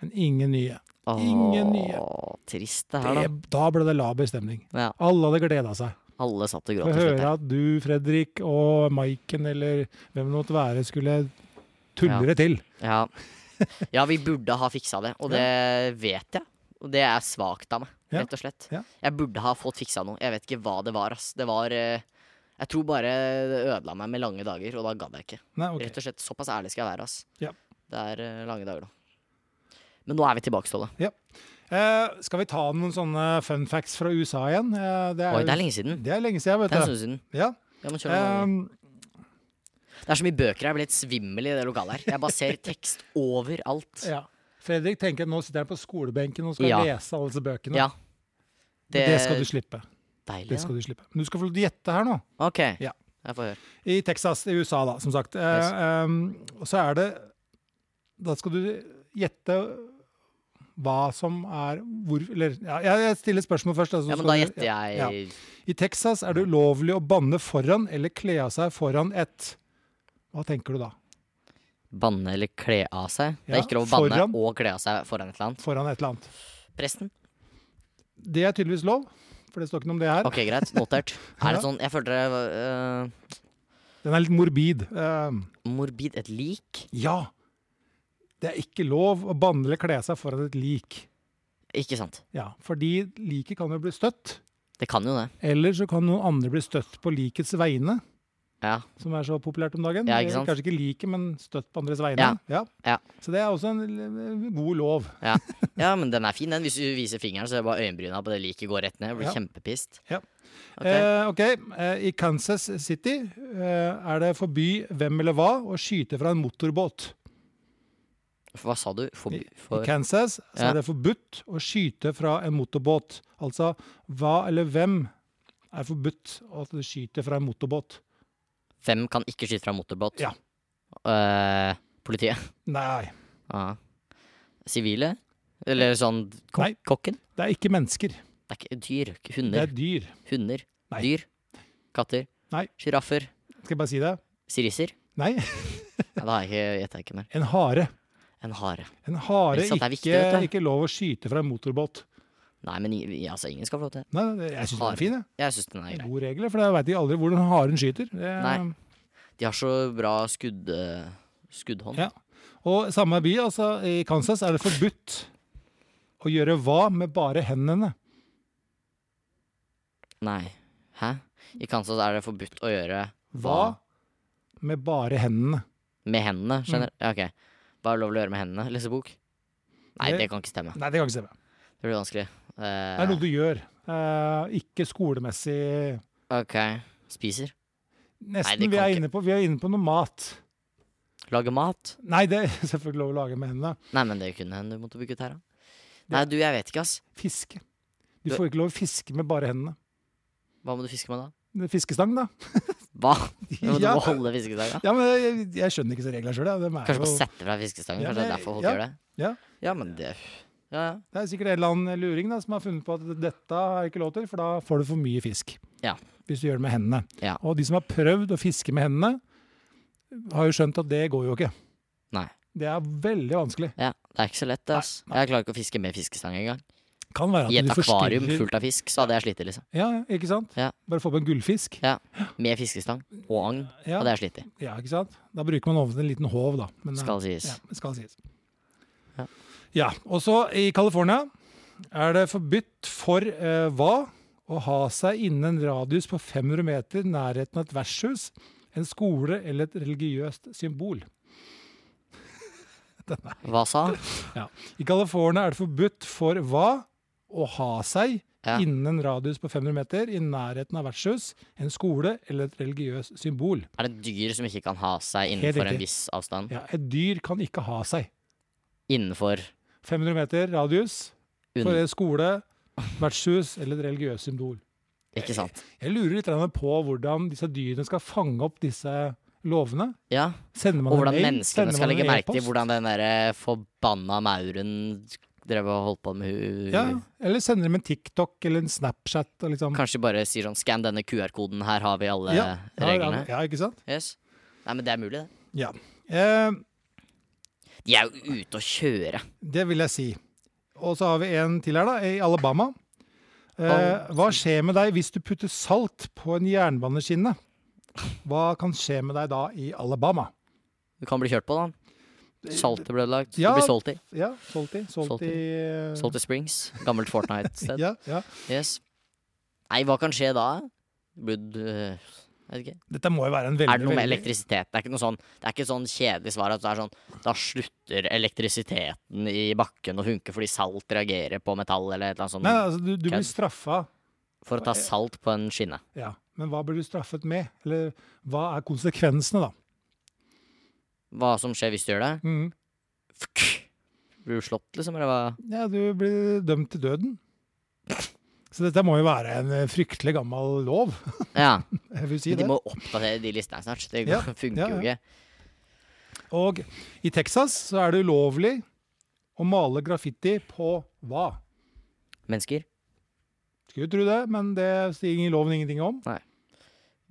Speaker 2: Men ingen nye.
Speaker 1: Åh,
Speaker 2: ingen nye.
Speaker 1: Trist det her,
Speaker 2: Det,
Speaker 1: da.
Speaker 2: da ble det laber stemning.
Speaker 1: Ja,
Speaker 2: Alle hadde gleda seg.
Speaker 1: alle satt og
Speaker 2: Få
Speaker 1: gråt til slutt.
Speaker 2: høre
Speaker 1: her.
Speaker 2: at du, Fredrik, og Maiken, eller hvem det måtte være, skulle tullere til.
Speaker 1: Ja. ja, vi burde ha fiksa det, og det vet jeg. Og det er svakt av meg,
Speaker 2: Ja.
Speaker 1: rett og slett.
Speaker 2: Ja.
Speaker 1: Jeg burde ha fått fiksa noe. Jeg vet ikke hva det var, ass. Det var eh, Jeg tror bare det ødela meg med lange dager, og da gadd jeg ikke.
Speaker 2: Nei, ok.
Speaker 1: Rett og slett, Såpass ærlig skal jeg være, ass.
Speaker 2: Ja.
Speaker 1: Det er eh, lange dager nå. Men nå er vi tilbake, Ståle.
Speaker 2: Eh, skal vi ta noen sånne fun facts fra USA igjen? Eh, det, er,
Speaker 1: Oi, det er
Speaker 2: jo-
Speaker 1: lenge siden.
Speaker 2: det er lenge
Speaker 1: Det er en
Speaker 2: siden, vet du.
Speaker 1: stund siden.
Speaker 2: Ja.
Speaker 1: Ja, men kjør noen ganger.
Speaker 2: Eh,
Speaker 1: Det er så mye bøker her. Jeg blir helt svimmel i det lokalet her. Jeg bare ser tekst overalt.
Speaker 2: ja. Fredrik tenker at nå sitter han på skolebenken og skal
Speaker 1: Ja.
Speaker 2: lese alle disse bøkene.
Speaker 1: Ja.
Speaker 2: Det, det skal du slippe.
Speaker 1: Deilig,
Speaker 2: Det skal du slippe. Men du skal få gjette her nå.
Speaker 1: da. OK.
Speaker 2: Ja.
Speaker 1: Jeg får høre.
Speaker 2: I Texas, i USA, da, som sagt. Eh,
Speaker 1: Yes.
Speaker 2: ehm, og så er det Da skal du gjette hva som er hvor Eller ja, jeg- jeg stiller spørsmål først. altså,
Speaker 1: Ja, men
Speaker 2: så skal
Speaker 1: da
Speaker 2: du-
Speaker 1: gjetter jeg
Speaker 2: ja. I Texas er det ulovlig å banne foran eller kle av seg foran et Hva tenker du da?
Speaker 1: banne eller kle av seg. Det
Speaker 2: Ja,
Speaker 1: er ikke lov å banne
Speaker 2: foran.
Speaker 1: og kle av seg foran et eller annet.
Speaker 2: Foran et eller annet.
Speaker 1: Presten?
Speaker 2: Det er tydeligvis lov, for det står ikke noe om det her.
Speaker 1: Ok, greit. Notert. Er
Speaker 2: Ja.
Speaker 1: det sånn Jeg følte det var øh,
Speaker 2: Den er litt morbid. Ehm,
Speaker 1: Morbid. Et lik?
Speaker 2: ja. Det er ikke lov å banne eller kle av seg foran et lik.
Speaker 1: Ikke sant.
Speaker 2: Ja, fordi liket kan jo bli støtt.
Speaker 1: Det kan jo det.
Speaker 2: Eller så kan noen andre bli støtt på likets vegne,
Speaker 1: Ja.
Speaker 2: som er så populært om dagen.
Speaker 1: Ja, ikke sant?
Speaker 2: Eller Kanskje ikke liket, men støtt på andres vegne.
Speaker 1: Ja.
Speaker 2: Så det er også en l- god lov.
Speaker 1: Ja, ja men den er fin, den. Hvis du viser fingeren, så er det bare øyenbryna på det liket går rett ned. Jeg blir
Speaker 2: Ja.
Speaker 1: kjempepist.
Speaker 2: Ja.
Speaker 1: Ok.
Speaker 2: Eh, ok, eh, I Kansas City eh, er det forby hvem eller hva å skyte fra en motorbåt.
Speaker 1: Hva sa du? For,
Speaker 2: I
Speaker 1: for
Speaker 2: Kansas så
Speaker 1: Ja.
Speaker 2: er det forbudt å skyte fra en motorbåt. Altså hva eller hvem er forbudt at du skyter fra en motorbåt.
Speaker 1: Hvem kan ikke skyte fra motorbåt?
Speaker 2: Ja.
Speaker 1: Øh, politiet?
Speaker 2: Nei,
Speaker 1: Ja. Sivile? Eller sånn kok
Speaker 2: Nei.
Speaker 1: Kokken?
Speaker 2: det er ikke mennesker.
Speaker 1: Det er ikke dyr. ikke
Speaker 2: Det
Speaker 1: Hunder.
Speaker 2: er dyr.
Speaker 1: Hunder.
Speaker 2: Nei.
Speaker 1: Dyr. Katter.
Speaker 2: Nei.
Speaker 1: Sjiraffer.
Speaker 2: Skal jeg bare si det?
Speaker 1: Sirisser.
Speaker 2: Nei,
Speaker 1: Nei, da har jeg ikke- gjetter jeg ikke mer.
Speaker 2: en hare.
Speaker 1: En hare.
Speaker 2: En hare
Speaker 1: Ikke sant, det
Speaker 2: ikke,
Speaker 1: er viktig, vet du.
Speaker 2: ikke lov å skyte fra en motorbåt.
Speaker 1: Nei, men i- i- altså, ingen skal få lov til det.
Speaker 2: Nei, det- jeg syns den
Speaker 1: Hare.
Speaker 2: er fin. Jeg.
Speaker 1: Jeg syns den er
Speaker 2: Det er
Speaker 1: grei.
Speaker 2: Gode regler, for jeg veit ikke aldri hvordan haren skyter. Det er-
Speaker 1: Nei. De har så bra skudd, eh, skuddhånd.
Speaker 2: Ja. Og samme by, altså i Kansas, er det forbudt å gjøre hva med bare hendene.
Speaker 1: Nei. Hæ? I Kansas er det forbudt å gjøre
Speaker 2: Hva med bare hendene?
Speaker 1: med hendene.
Speaker 2: Mm.
Speaker 1: Skjønner Ja, Ok. Hva er det lov til å gjøre med hendene? Lese bok? Nei,
Speaker 2: Det-
Speaker 1: det kan ikke stemme. Det
Speaker 2: Nei, det kan ikke stemme.
Speaker 1: blir vanskelig.
Speaker 2: Det er
Speaker 1: Eh,
Speaker 2: noe du gjør. Eh, ikke skolemessig
Speaker 1: ok. Spiser. Nei,
Speaker 2: Nesten.
Speaker 1: det
Speaker 2: vi,
Speaker 1: kan
Speaker 2: er
Speaker 1: ikke.
Speaker 2: inne på, vi er inne på noe mat.
Speaker 1: Lage mat.
Speaker 2: Nei, det er selvfølgelig lov å lage med hendene.
Speaker 1: Nei, men det kunne hende du måtte bygge ut her, da. Nei, du, jeg vet ikke, ass.
Speaker 2: Fiske. Du
Speaker 1: Du-
Speaker 2: får ikke lov å fiske med bare hendene.
Speaker 1: Hva må du fiske med da?
Speaker 2: Fiskestang, da.
Speaker 1: Hva? Du må
Speaker 2: Ja.
Speaker 1: holde fiskestanga?
Speaker 2: Ja, men jeg, jeg skjønner ikke så reglene sjøl. Det,
Speaker 1: Kanskje bare sette fra fiskestangen?
Speaker 2: Ja,
Speaker 1: Kanskje det er
Speaker 2: det-
Speaker 1: derfor folk
Speaker 2: ja,
Speaker 1: gjør det?
Speaker 2: ja.
Speaker 1: ja, men det Ja, ja.
Speaker 2: det er sikkert en eller annen luring da, som har funnet på at dette er ikke lov til, for da får du for mye fisk.
Speaker 1: Ja.
Speaker 2: Hvis du gjør det med hendene.
Speaker 1: Ja.
Speaker 2: Og de som har prøvd å fiske med hendene, har jo skjønt at det går jo ikke.
Speaker 1: Nei.
Speaker 2: Det er veldig vanskelig.
Speaker 1: ja. Det er ikke så lett, ass. Jeg klarer ikke å fiske med fiskestang engang.
Speaker 2: Kan være at
Speaker 1: I et
Speaker 2: du
Speaker 1: akvarium
Speaker 2: forstyrrer-
Speaker 1: fullt av fisk, så hadde jeg slitt, liksom.
Speaker 2: Ja, ikke sant?
Speaker 1: Ja.
Speaker 2: Bare få på en gullfisk.
Speaker 1: Ja. Med fiskestang og agn
Speaker 2: Ja.
Speaker 1: hadde jeg slitt. i.
Speaker 2: Ja, ikke sant? Da bruker man ofte en liten håv, da. Men, eh,
Speaker 1: Skal sies.
Speaker 2: Ja, det skal sies.
Speaker 1: Ja.
Speaker 2: Ja. og så i California er det forbudt for eh, hva å ha seg innen en radius på 500 meter nærheten av et vertshus, en skole eller et religiøst symbol.
Speaker 1: Hva sa han?
Speaker 2: I California er det forbudt for hva å ha seg
Speaker 1: Ja.
Speaker 2: innen en radius på 500 meter i nærheten av vertshus, en skole eller et religiøst symbol.
Speaker 1: Er det dyr som ikke kan ha seg innenfor en
Speaker 2: riktig.
Speaker 1: viss avstand?
Speaker 2: Ja, et dyr kan ikke ha seg.
Speaker 1: Innenfor
Speaker 2: 500 meter radius for
Speaker 1: under...
Speaker 2: en skole, vertshus eller et religiøst symbol.
Speaker 1: Ikke sant?
Speaker 2: Jeg lurer litt grann på hvordan disse dyrene skal fange opp disse lovene.
Speaker 1: Ja,
Speaker 2: Sender man
Speaker 1: Og hvordan
Speaker 2: en mail,
Speaker 1: menneskene
Speaker 2: sender
Speaker 1: skal
Speaker 2: man en
Speaker 1: legge merke til
Speaker 2: e-post.
Speaker 1: hvordan den derre forbanna mauren drev og holdt på med hu...
Speaker 2: ja, Eller sender dem en TikTok eller en Snapchat. Og liksom.
Speaker 1: Kanskje bare sier sånn skann denne QR-koden, her har vi alle
Speaker 2: Ja, Ja,
Speaker 1: reglene.
Speaker 2: Ja, ja, ikke sant?
Speaker 1: Yes. Nei, men det er mulig, det.
Speaker 2: Ja. Eh,
Speaker 1: De er jo ute å kjøre.
Speaker 2: det vil jeg si. Og så har vi en til her, da, i Alabama. Eh, hva skjer med deg hvis du putter salt på en jernbaneskinne? Hva kan skje med deg da i Alabama?
Speaker 1: Du kan bli kjørt på, da. Saltet ble ødelagt.
Speaker 2: Ja.
Speaker 1: Du blir solgt i.
Speaker 2: Ja, solgt i. Solgt i eh,
Speaker 1: Salty Springs. Gammelt Fortnite-sted.
Speaker 2: Ja, ja.
Speaker 1: Yes. Nei, hva kan skje da? Bludd øh, Jeg vet ikke.
Speaker 2: Dette må jo være en veldig
Speaker 1: Er det noe med
Speaker 2: veldig-
Speaker 1: elektrisitet? Det er ikke noe sånn Det er ikke et sånn kjedelig svar at det er sånn Da slutter elektrisiteten i bakken å hunke fordi salt reagerer på metall, eller et eller annet sånt.
Speaker 2: Nei, altså, du, du blir
Speaker 1: Kødd.
Speaker 2: straffa.
Speaker 1: for å ta salt på en skinne.
Speaker 2: Ja. Men hva blir du straffet med? Eller hva er konsekvensene, da?
Speaker 1: Hva som skjer hvis du gjør det?
Speaker 2: Mhm.
Speaker 1: Fk! Blir du slått, liksom, eller hva?
Speaker 2: Ja, du blir dømt til døden. Så dette må jo være en eh, fryktelig gammel lov,
Speaker 1: Ja.
Speaker 2: jeg vil si
Speaker 1: Men
Speaker 2: det.
Speaker 1: de må oppdatere de listene her snart. Det
Speaker 2: Ja,
Speaker 1: funker
Speaker 2: ja,
Speaker 1: jo
Speaker 2: ja.
Speaker 1: ikke.
Speaker 2: Og i Texas så er det ulovlig å male graffiti på hva?
Speaker 1: Mennesker
Speaker 2: Skulle tro det, men det sier ingen loven ingenting om.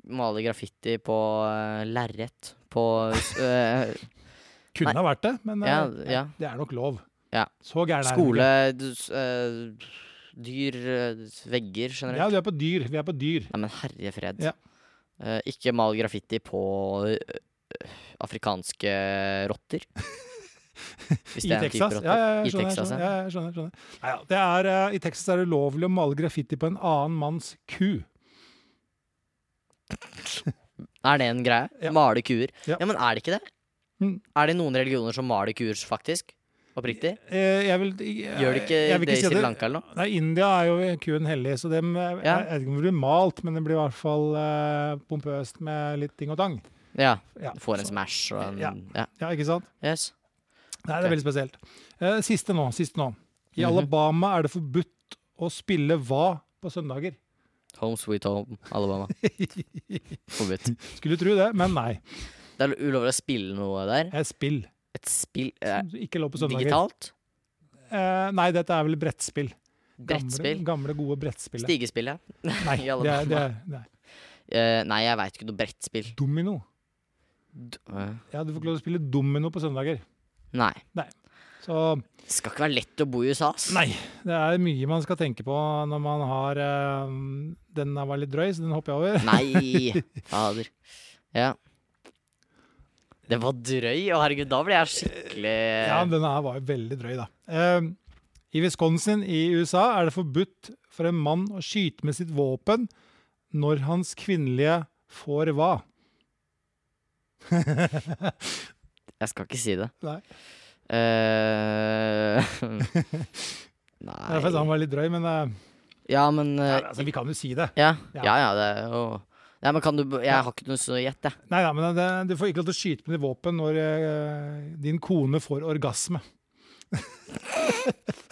Speaker 1: maler graffiti på uh, lerret. På øh,
Speaker 2: Kunne ha vært det, men eh,
Speaker 1: Ja, ja.
Speaker 2: det er nok lov.
Speaker 1: Ja.
Speaker 2: Så gæren er den
Speaker 1: skole
Speaker 2: ikke.
Speaker 1: du s- øh, Dyr, øh, vegger generelt.
Speaker 2: Ja, du er på dyr. Vi er på dyr.
Speaker 1: Nei, men herre fred.
Speaker 2: Ja.
Speaker 1: Eh, ikke mal graffiti på eh, afrikanske rotter. Hvis
Speaker 2: I
Speaker 1: det er en type
Speaker 2: Texas?
Speaker 1: rotter.
Speaker 2: Ja, ja, ja,
Speaker 1: I
Speaker 2: skjønner, jeg
Speaker 1: Texas,
Speaker 2: skjønner,
Speaker 1: ja.
Speaker 2: ja, jeg skjønner, skjønner. Nei, ja, det er, eh, I Texas er det ulovlig å male graffiti på en annen manns ku.
Speaker 1: Er det en greie?
Speaker 2: Ja.
Speaker 1: Male kuer.
Speaker 2: Ja.
Speaker 1: Ja. men er det ikke det?
Speaker 2: Mm.
Speaker 1: Er det noen religioner som maler kuer, faktisk? Oppriktig?
Speaker 2: Eh, jeg vil,
Speaker 1: Gjør det ikke
Speaker 2: jeg vil
Speaker 1: det i
Speaker 2: si at
Speaker 1: Sri Lanka eller noe?
Speaker 2: Nei, India er jo kuen hellig, så dem, jeg,
Speaker 1: Ja.
Speaker 2: jeg vet ikke om det blir malt, men det blir i hvert fall eh, pompøst med litt ting og tang.
Speaker 1: Ja.
Speaker 2: Ja,
Speaker 1: Du får en
Speaker 2: så-
Speaker 1: smash og en
Speaker 2: Ja.
Speaker 1: Ja.
Speaker 2: ja ikke sant?
Speaker 1: Yes.
Speaker 2: Nei, det er
Speaker 1: Ok.
Speaker 2: veldig spesielt. Eh, siste nå, siste nå. I
Speaker 1: Mhm.
Speaker 2: Alabama er det forbudt å spille hva på søndager?
Speaker 1: Home sweet home, Alabama. Forbudt.
Speaker 2: Skulle tro det, men nei.
Speaker 1: Det er ulovlig å spille noe der.
Speaker 2: Det er spill.
Speaker 1: Et spill eh,
Speaker 2: som Ikke lov på søndager.
Speaker 1: Digitalt?
Speaker 2: Eh, nei, dette er vel brettspill.
Speaker 1: Brettspill?
Speaker 2: Gamle, gamle gode brettspill.
Speaker 1: Stigespill, ja.
Speaker 2: Nei,
Speaker 1: i
Speaker 2: det er,
Speaker 1: Alabama.
Speaker 2: det er, det er
Speaker 1: Eh, nei, jeg veit ikke noe brettspill.
Speaker 2: domino.
Speaker 1: D- eh,
Speaker 2: Ja, du får ikke lov til å spille domino på søndager.
Speaker 1: Nei.
Speaker 2: Så
Speaker 1: Det skal ikke være lett å bo i USA, ass.
Speaker 2: Nei, det er mye man skal tenke på når man har eh, Den her var litt drøy, så den hopper jeg over.
Speaker 1: Nei, fader. Ja. Det var drøy. Å, herregud, da ble jeg skikkelig
Speaker 2: Eh, Ja, men den her var jo veldig drøy, da. Eh, I Wisconsin i USA er det forbudt for en mann å skyte med sitt våpen når hans kvinnelige får hva?
Speaker 1: Jeg skal ikke si det.
Speaker 2: Nei.
Speaker 1: Eh,
Speaker 2: Nei. Han
Speaker 1: Nei
Speaker 2: var litt drøy, men eh,
Speaker 1: Ja, men
Speaker 2: ja,
Speaker 1: eh,
Speaker 2: altså, vi kan jo si det.
Speaker 1: Ja, ja, ja det er jo Nei, men kan du Jeg har ikke noe så å gjette, jeg.
Speaker 2: Nei, nei, men det, Du får ikke lov til å skyte med ditt våpen når eh, din kone får orgasme.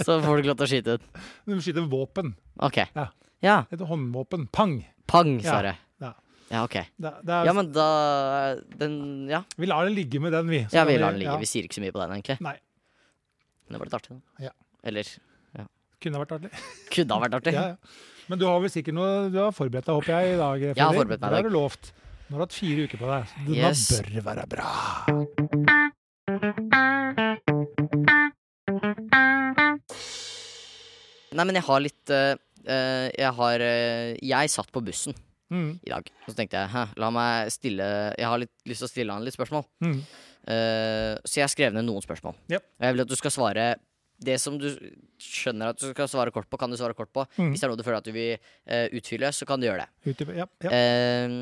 Speaker 1: Så får du ikke lov til å skyte ut.
Speaker 2: Du må skyte med våpen.
Speaker 1: OK.
Speaker 2: Ja.
Speaker 1: Ja.
Speaker 2: Et håndvåpen. Pang!
Speaker 1: Pang, sa
Speaker 2: Ja,
Speaker 1: det.
Speaker 2: ja.
Speaker 1: Ja, OK.
Speaker 2: Det, det er,
Speaker 1: Ja, men da Den Ja.
Speaker 2: Vi lar det ligge med den, vi. Så
Speaker 1: Ja,
Speaker 2: kan
Speaker 1: vi lar den ligge.
Speaker 2: ja.
Speaker 1: Vi sier ikke så mye på den, egentlig.
Speaker 2: Nei.
Speaker 1: Men det var litt artig, da.
Speaker 2: Ja.
Speaker 1: Eller
Speaker 2: Kunne ha vært artig.
Speaker 1: kunne ha vært artig.
Speaker 2: Ja, ja. Men du har vel sikkert noe du har forberedt deg, håper jeg, i dag? Fredrik?
Speaker 1: har forberedt meg i
Speaker 2: Det
Speaker 1: dag.
Speaker 2: har du lovt. Nå har du hatt fire uker på deg. så Denne
Speaker 1: Yes.
Speaker 2: bør være bra.
Speaker 1: Nei, men jeg har litt eh, eh, Jeg har eh, Jeg satt på bussen
Speaker 2: Mm,
Speaker 1: i dag. Og så tenkte jeg hæ, la meg stille Jeg har litt lyst til å stille han litt spørsmål.
Speaker 2: mm.
Speaker 1: Eh, så jeg skrev ned noen spørsmål.
Speaker 2: Yep.
Speaker 1: Og jeg vil at du skal svare det som du skjønner at du skal svare kort på, kan du svare kort på.
Speaker 2: Mhm.
Speaker 1: Hvis det er noe du føler at du vil eh, utfylle, så kan du gjøre det.
Speaker 2: Ut i- Ja, ja.
Speaker 1: Eh,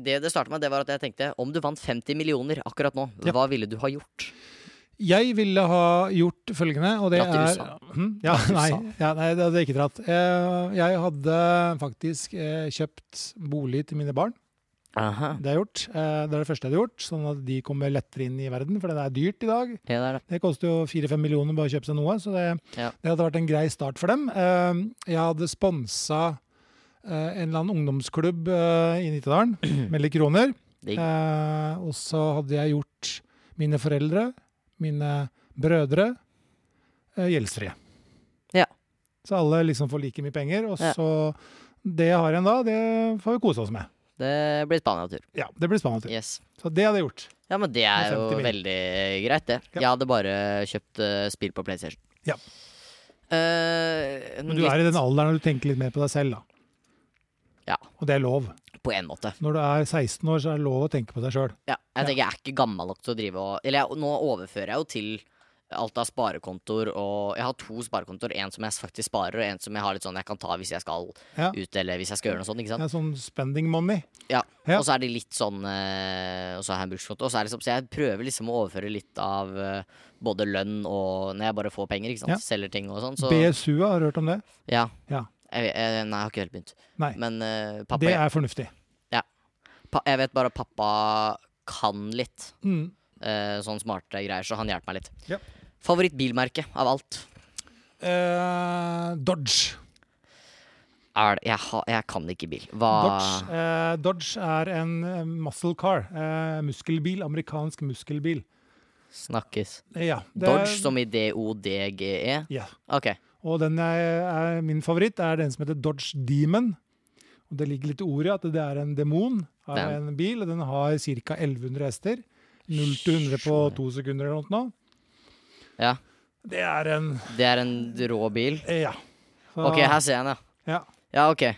Speaker 1: det det starta med, det var at jeg tenkte om du vant 50 millioner akkurat nå,
Speaker 2: Ja.
Speaker 1: hva ville du ha gjort?
Speaker 2: Jeg ville ha gjort følgende, og det
Speaker 1: Dratt til
Speaker 2: er
Speaker 1: USA.
Speaker 2: Mhm, Ja,
Speaker 1: Dratt til
Speaker 2: nei,
Speaker 1: USA.
Speaker 2: ja, nei, det hadde jeg ikke dratt. Eh, Jeg hadde faktisk eh, kjøpt bolig til mine barn.
Speaker 1: Aha.
Speaker 2: Det har jeg gjort. Eh, Det er det første jeg hadde gjort, sånn at de kommer lettere inn i verden, for det er dyrt i dag.
Speaker 1: Ja, det er det.
Speaker 2: Det koster jo 4-5 millioner bare å kjøpe seg noe, så det,
Speaker 1: Ja.
Speaker 2: det hadde vært en grei start for dem. Eh, Jeg hadde eh, sponsa en eller annen ungdomsklubb eh, i Nittedalen med litt kroner.
Speaker 1: Digg.
Speaker 2: Eh, og så hadde jeg gjort mine foreldre, mine brødre, eh, gjeldsfrie.
Speaker 1: Ja.
Speaker 2: Så alle liksom får like mye penger, og
Speaker 1: Ja.
Speaker 2: så det jeg har igjen da, det får vi kose oss med.
Speaker 1: Det blir Spania-tur.
Speaker 2: Ja, det blir spennende.
Speaker 1: Yes.
Speaker 2: Så det hadde jeg gjort.
Speaker 1: Ja, men det
Speaker 2: Med
Speaker 1: er
Speaker 2: 50
Speaker 1: jo
Speaker 2: mil.
Speaker 1: veldig greit, det.
Speaker 2: Ja.
Speaker 1: Jeg hadde bare kjøpt eh, spill på PlayStation.
Speaker 2: Ja.
Speaker 1: Eh,
Speaker 2: Men du er i den alderen når du tenker litt mer på deg selv, da.
Speaker 1: Ja.
Speaker 2: Og det er lov.
Speaker 1: På en måte.
Speaker 2: Når du er 16 år, så er det lov å tenke på deg sjøl.
Speaker 1: Ja, jeg tenker jeg er ikke gammel nok til å drive og Eller jeg, nå overfører jeg jo til alt av sparekontoer og Jeg har to sparekontoer. En som jeg faktisk sparer, og en som jeg har litt sånn jeg kan ta hvis jeg skal
Speaker 2: Ja.
Speaker 1: ut eller hvis jeg skal gjøre noe sånt. ikke
Speaker 2: Det
Speaker 1: sant?
Speaker 2: er sånn spending money.
Speaker 1: Ja.
Speaker 2: Ja.
Speaker 1: Og så er det litt sånn eh, Og så har jeg en brukskonto. Og så, er det liksom, så jeg prøver liksom å overføre litt av eh, både lønn og Når jeg bare får penger, ikke sant.
Speaker 2: Ja.
Speaker 1: Selger ting og sånn. Så
Speaker 2: BSU-a, har du hørt om det?
Speaker 1: Ja.
Speaker 2: Ja.
Speaker 1: Jeg, vet- jeg, nei, jeg har ikke helt begynt.
Speaker 2: Nei.
Speaker 1: Men eh, pappa
Speaker 2: Det er fornuftig.
Speaker 1: pa, Jeg vet bare at pappa kan litt
Speaker 2: Mm.
Speaker 1: eh, sånn smarte greier, så han hjelper meg litt.
Speaker 2: Ja.
Speaker 1: Favorittbilmerke av alt?
Speaker 2: Eh, Dodge.
Speaker 1: Er det, jeg, ha, jeg kan ikke bil. Hva
Speaker 2: Dodge, eh, Dodge er en eh, muscle car. Eh, muskelbil. Amerikansk muskelbil.
Speaker 1: snakkes?
Speaker 2: Eh, ja, det er-
Speaker 1: Dodge som i D-O-D-G-E?
Speaker 2: Ja.
Speaker 1: E? Ok.
Speaker 2: Og den jeg er min favoritt, er den som heter Dodge Demon. Og det ligger litt i ordet at det er en demon av
Speaker 1: Den.
Speaker 2: en bil. og Den har ca. 1100 hester. 0 til 100 på to sekunder eller noe. nå.
Speaker 1: Ja.
Speaker 2: Det er en
Speaker 1: Det er en rå bil?
Speaker 2: eh, Ja. Så-
Speaker 1: Ok, her ser jeg den, ja.
Speaker 2: ja.
Speaker 1: Ja, ok.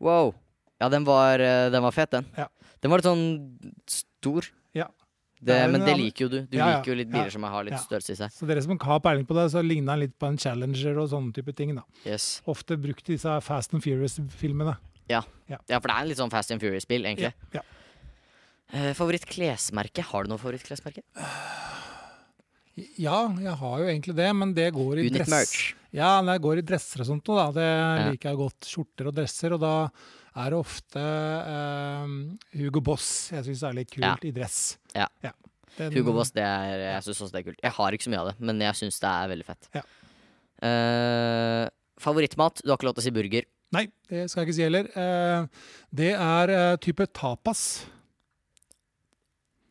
Speaker 1: Wow. Ja, den var, eh, den var fet, den.
Speaker 2: Ja.
Speaker 1: Den var litt sånn stor.
Speaker 2: Ja.
Speaker 1: Det,
Speaker 2: Ja,
Speaker 1: men
Speaker 2: den-
Speaker 1: det liker jo du. Du
Speaker 2: Ja, ja,
Speaker 1: liker jo litt
Speaker 2: ja,
Speaker 1: biler som har litt
Speaker 2: ja.
Speaker 1: størrelse i seg.
Speaker 2: Så dere som har peiling på det, så ligner den litt på en Challenger og sånne type ting. da.
Speaker 1: Yes.
Speaker 2: Ofte brukt i disse Fast and Furious-filmene.
Speaker 1: Ja, for det er en litt sånn Fast and Furious-bil, egentlig.
Speaker 2: Ja, ja.
Speaker 1: Eh, favorittklesmerke? Har du noe favorittklesmerke?
Speaker 2: Ja, jeg har jo egentlig det, men det går i
Speaker 1: Unit
Speaker 2: dress.
Speaker 1: merch.
Speaker 2: Ja, men jeg går i dresser og sånt, nå, da. det
Speaker 1: Ja.
Speaker 2: liker jeg godt. Skjorter og dresser, og da er det ofte eh, Hugo Boss jeg syns er litt kult
Speaker 1: Ja.
Speaker 2: i dress.
Speaker 1: Ja.
Speaker 2: Den-
Speaker 1: Hugo Boss, det er, jeg syns også det er kult. Jeg har ikke så mye av det, men jeg syns det er veldig fett.
Speaker 2: Ja.
Speaker 1: Eh, favorittmat? Du har ikke lov til å si burger.
Speaker 2: Nei, det skal jeg ikke si heller. Eh, det er eh, type tapas.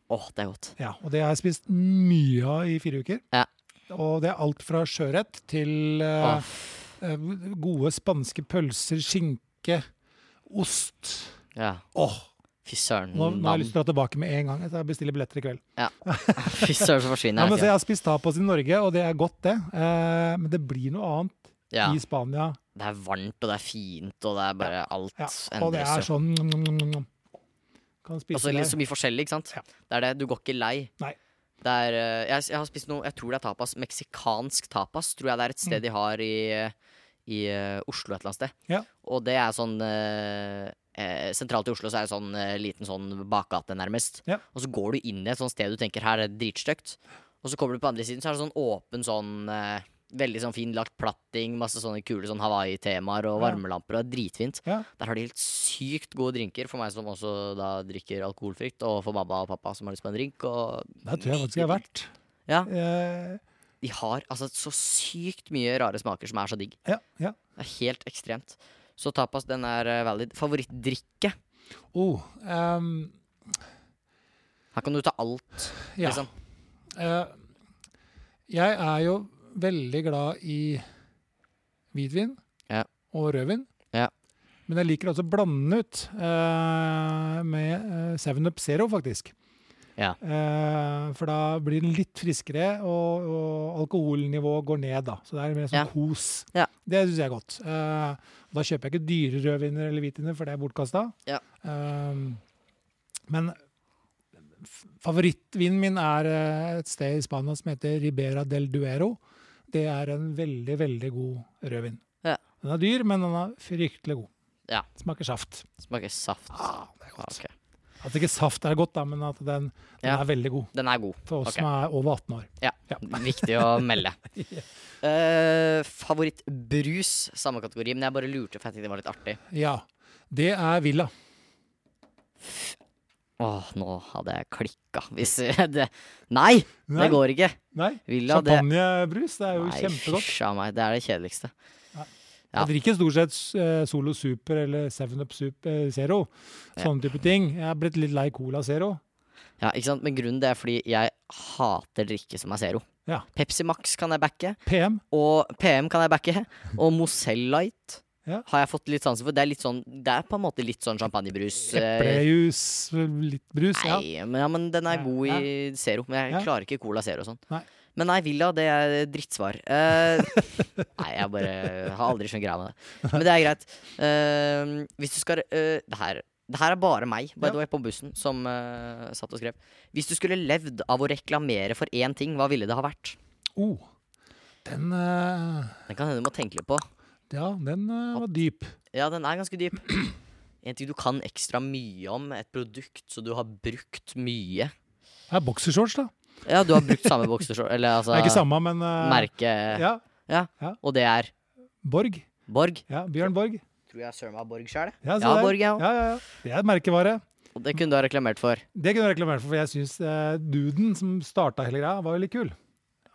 Speaker 1: Åh, det er godt.
Speaker 2: Ja, og det har jeg spist mye av i fire uker.
Speaker 1: Ja.
Speaker 2: Og det er alt fra sjøørret til eh,
Speaker 1: Åh,
Speaker 2: eh, gode spanske pølser, skinke, ost.
Speaker 1: ja.
Speaker 2: Åh,
Speaker 1: Fy søren.
Speaker 2: nå, nå har jeg
Speaker 1: nam.
Speaker 2: lyst til å dra tilbake med en gang. Jeg bestiller billetter i kveld.
Speaker 1: Fy søren, så forsvinner
Speaker 2: Ja,
Speaker 1: jeg.
Speaker 2: men så jeg har spist tapas i Norge, og det er godt, det. Eh, men det blir noe annet
Speaker 1: Ja,
Speaker 2: i Spania.
Speaker 1: det er varmt, og det er fint, og det er bare alt
Speaker 2: Ja, og det er
Speaker 1: endres jo.
Speaker 2: sånn Kan spise
Speaker 1: Altså,
Speaker 2: det.
Speaker 1: litt så mye forskjellig, ikke sant?
Speaker 2: Ja.
Speaker 1: Det er det, du går ikke lei.
Speaker 2: Nei.
Speaker 1: Det er, eh, jeg, jeg har spist noe, jeg tror det er tapas, meksikansk tapas, tror jeg det er et sted de har i, eh, i eh, Oslo et eller annet sted.
Speaker 2: Mm. Ja.
Speaker 1: Og det er sånn, eh, eh, sentralt i Oslo så er det sånn eh, liten sånn bakgate nærmest.
Speaker 2: Ja.
Speaker 1: Og så går du inn i et sånt sted du tenker her er det dritstøkt. Og så kommer du på andre siden så er det sånn åpen sånn, eh, veldig sånn fin lagt platting, masse sånne kule sånn Hawaii-temaer og
Speaker 2: Ja.
Speaker 1: varmelamper, og det er dritfint.
Speaker 2: Ja.
Speaker 1: Der har de helt sykt gode drinker, for meg som også da drikker alkoholfritt, og for mamma og pappa som har lyst på en drink, og
Speaker 2: Der tror jeg faktisk jeg har vært.
Speaker 1: Ja.
Speaker 2: Eh,
Speaker 1: de har altså så sykt mye rare smaker som er så digg.
Speaker 2: ja, ja.
Speaker 1: Det er helt ekstremt. Så tapas, den er eh, valid. Favorittdrikke.
Speaker 2: Oh, ehm,
Speaker 1: Her kan du ta alt,
Speaker 2: ja.
Speaker 1: liksom.
Speaker 2: Eh, jeg er jo veldig glad i hvitvin
Speaker 1: Ja.
Speaker 2: og rødvin.
Speaker 1: Ja.
Speaker 2: Men jeg liker også å blande ut eh, med eh, 7up Zero, faktisk.
Speaker 1: Ja.
Speaker 2: Eh, for da blir den litt friskere, og, og alkoholnivået går ned. da. Så det er mer sånn
Speaker 1: Ja.
Speaker 2: kos.
Speaker 1: Ja.
Speaker 2: Det syns jeg er godt. Eh, da kjøper jeg ikke dyre rødviner eller hvitviner, for det er bortkasta.
Speaker 1: Ja.
Speaker 2: Eh, men f- Favorittvinen min er eh, et sted i Spania som heter Ribera del Duero. Det er en veldig, veldig god rødvin.
Speaker 1: Ja.
Speaker 2: Den er dyr, men den er fryktelig god.
Speaker 1: Ja.
Speaker 2: Smaker saft.
Speaker 1: Smaker saft.
Speaker 2: Ah, det er
Speaker 1: Ah,
Speaker 2: godt.
Speaker 1: ok.
Speaker 2: At ikke saft er godt, da, men at den, den
Speaker 1: Ja.
Speaker 2: er veldig god
Speaker 1: Den er god.
Speaker 2: for oss
Speaker 1: Ok.
Speaker 2: som er over 18 år.
Speaker 1: Ja.
Speaker 2: Ja.
Speaker 1: Viktig å melde. Eh, Favorittbrus, samme kategori, men jeg bare lurte for jeg tenkte det var litt artig.
Speaker 2: Ja. Det er Villa.
Speaker 1: Åh, nå hadde jeg klikka hvis jeg- det Nei!
Speaker 2: Nei.
Speaker 1: Det går ikke.
Speaker 2: Nei,
Speaker 1: Villa, det
Speaker 2: champagnebrus. Det er jo
Speaker 1: Nei,
Speaker 2: kjempegodt.
Speaker 1: fysj a meg. Det er det kjedeligste.
Speaker 2: Nei.
Speaker 1: Ja.
Speaker 2: Jeg drikker stort sett eh, Solo Super eller Seven Up Sup- eh, Zero. Sånne type ting. Jeg er blitt litt lei Cola Zero.
Speaker 1: Ja, ikke sant? Men grunnen det er fordi jeg hater drikke som er Zero.
Speaker 2: Ja.
Speaker 1: Pepsi Max kan jeg backe,
Speaker 2: PM.
Speaker 1: og PM kan jeg backe, og Mozell Light
Speaker 2: Ja.
Speaker 1: har jeg fått litt sansen for. Det er litt sånn, det er på en måte litt sånn champagnebrus. eh,
Speaker 2: Eplejus, litt brus. Ja.
Speaker 1: Nei, men, ja, men den er
Speaker 2: Ja,
Speaker 1: god i Zero. Men jeg
Speaker 2: Ja.
Speaker 1: klarer ikke Cola Zero og sånn.
Speaker 2: Nei.
Speaker 1: Men nei, Villa, det er drittsvar. Eh, nei, jeg bare har aldri skjønt greia med det. Men det er greit. Eh, hvis du skal eh, det, her, det her er bare meg, by
Speaker 2: Ja.
Speaker 1: the way, på bussen, som eh, satt og skrev. Hvis du skulle levd av å reklamere for én ting, hva ville det ha vært?
Speaker 2: Oh, den eh,
Speaker 1: Den kan hende du må tenke litt på.
Speaker 2: Ja, den eh, var dyp.
Speaker 1: Ja, den er ganske dyp. En ting du kan ekstra mye om, et produkt så du har brukt mye.
Speaker 2: Det er boksershorts, da.
Speaker 1: Ja, du har brukt samme boksershorts, eller altså
Speaker 2: Det er ikke samme, men eh,
Speaker 1: merke
Speaker 2: Ja.
Speaker 1: Og det er
Speaker 2: Borg.
Speaker 1: Borg.
Speaker 2: Ja, Bjørn Borg.
Speaker 1: Tror jeg søren meg har Borg sjøl.
Speaker 2: Ja,
Speaker 1: Ja,
Speaker 2: der.
Speaker 1: Borg, ja.
Speaker 2: Altså, Ja, ja, ja. Det er et merkevare.
Speaker 1: Og det kunne du ha reklamert for.
Speaker 2: Det kunne jeg reklamert for, for jeg syns eh, duden som starta hele greia, var veldig kul.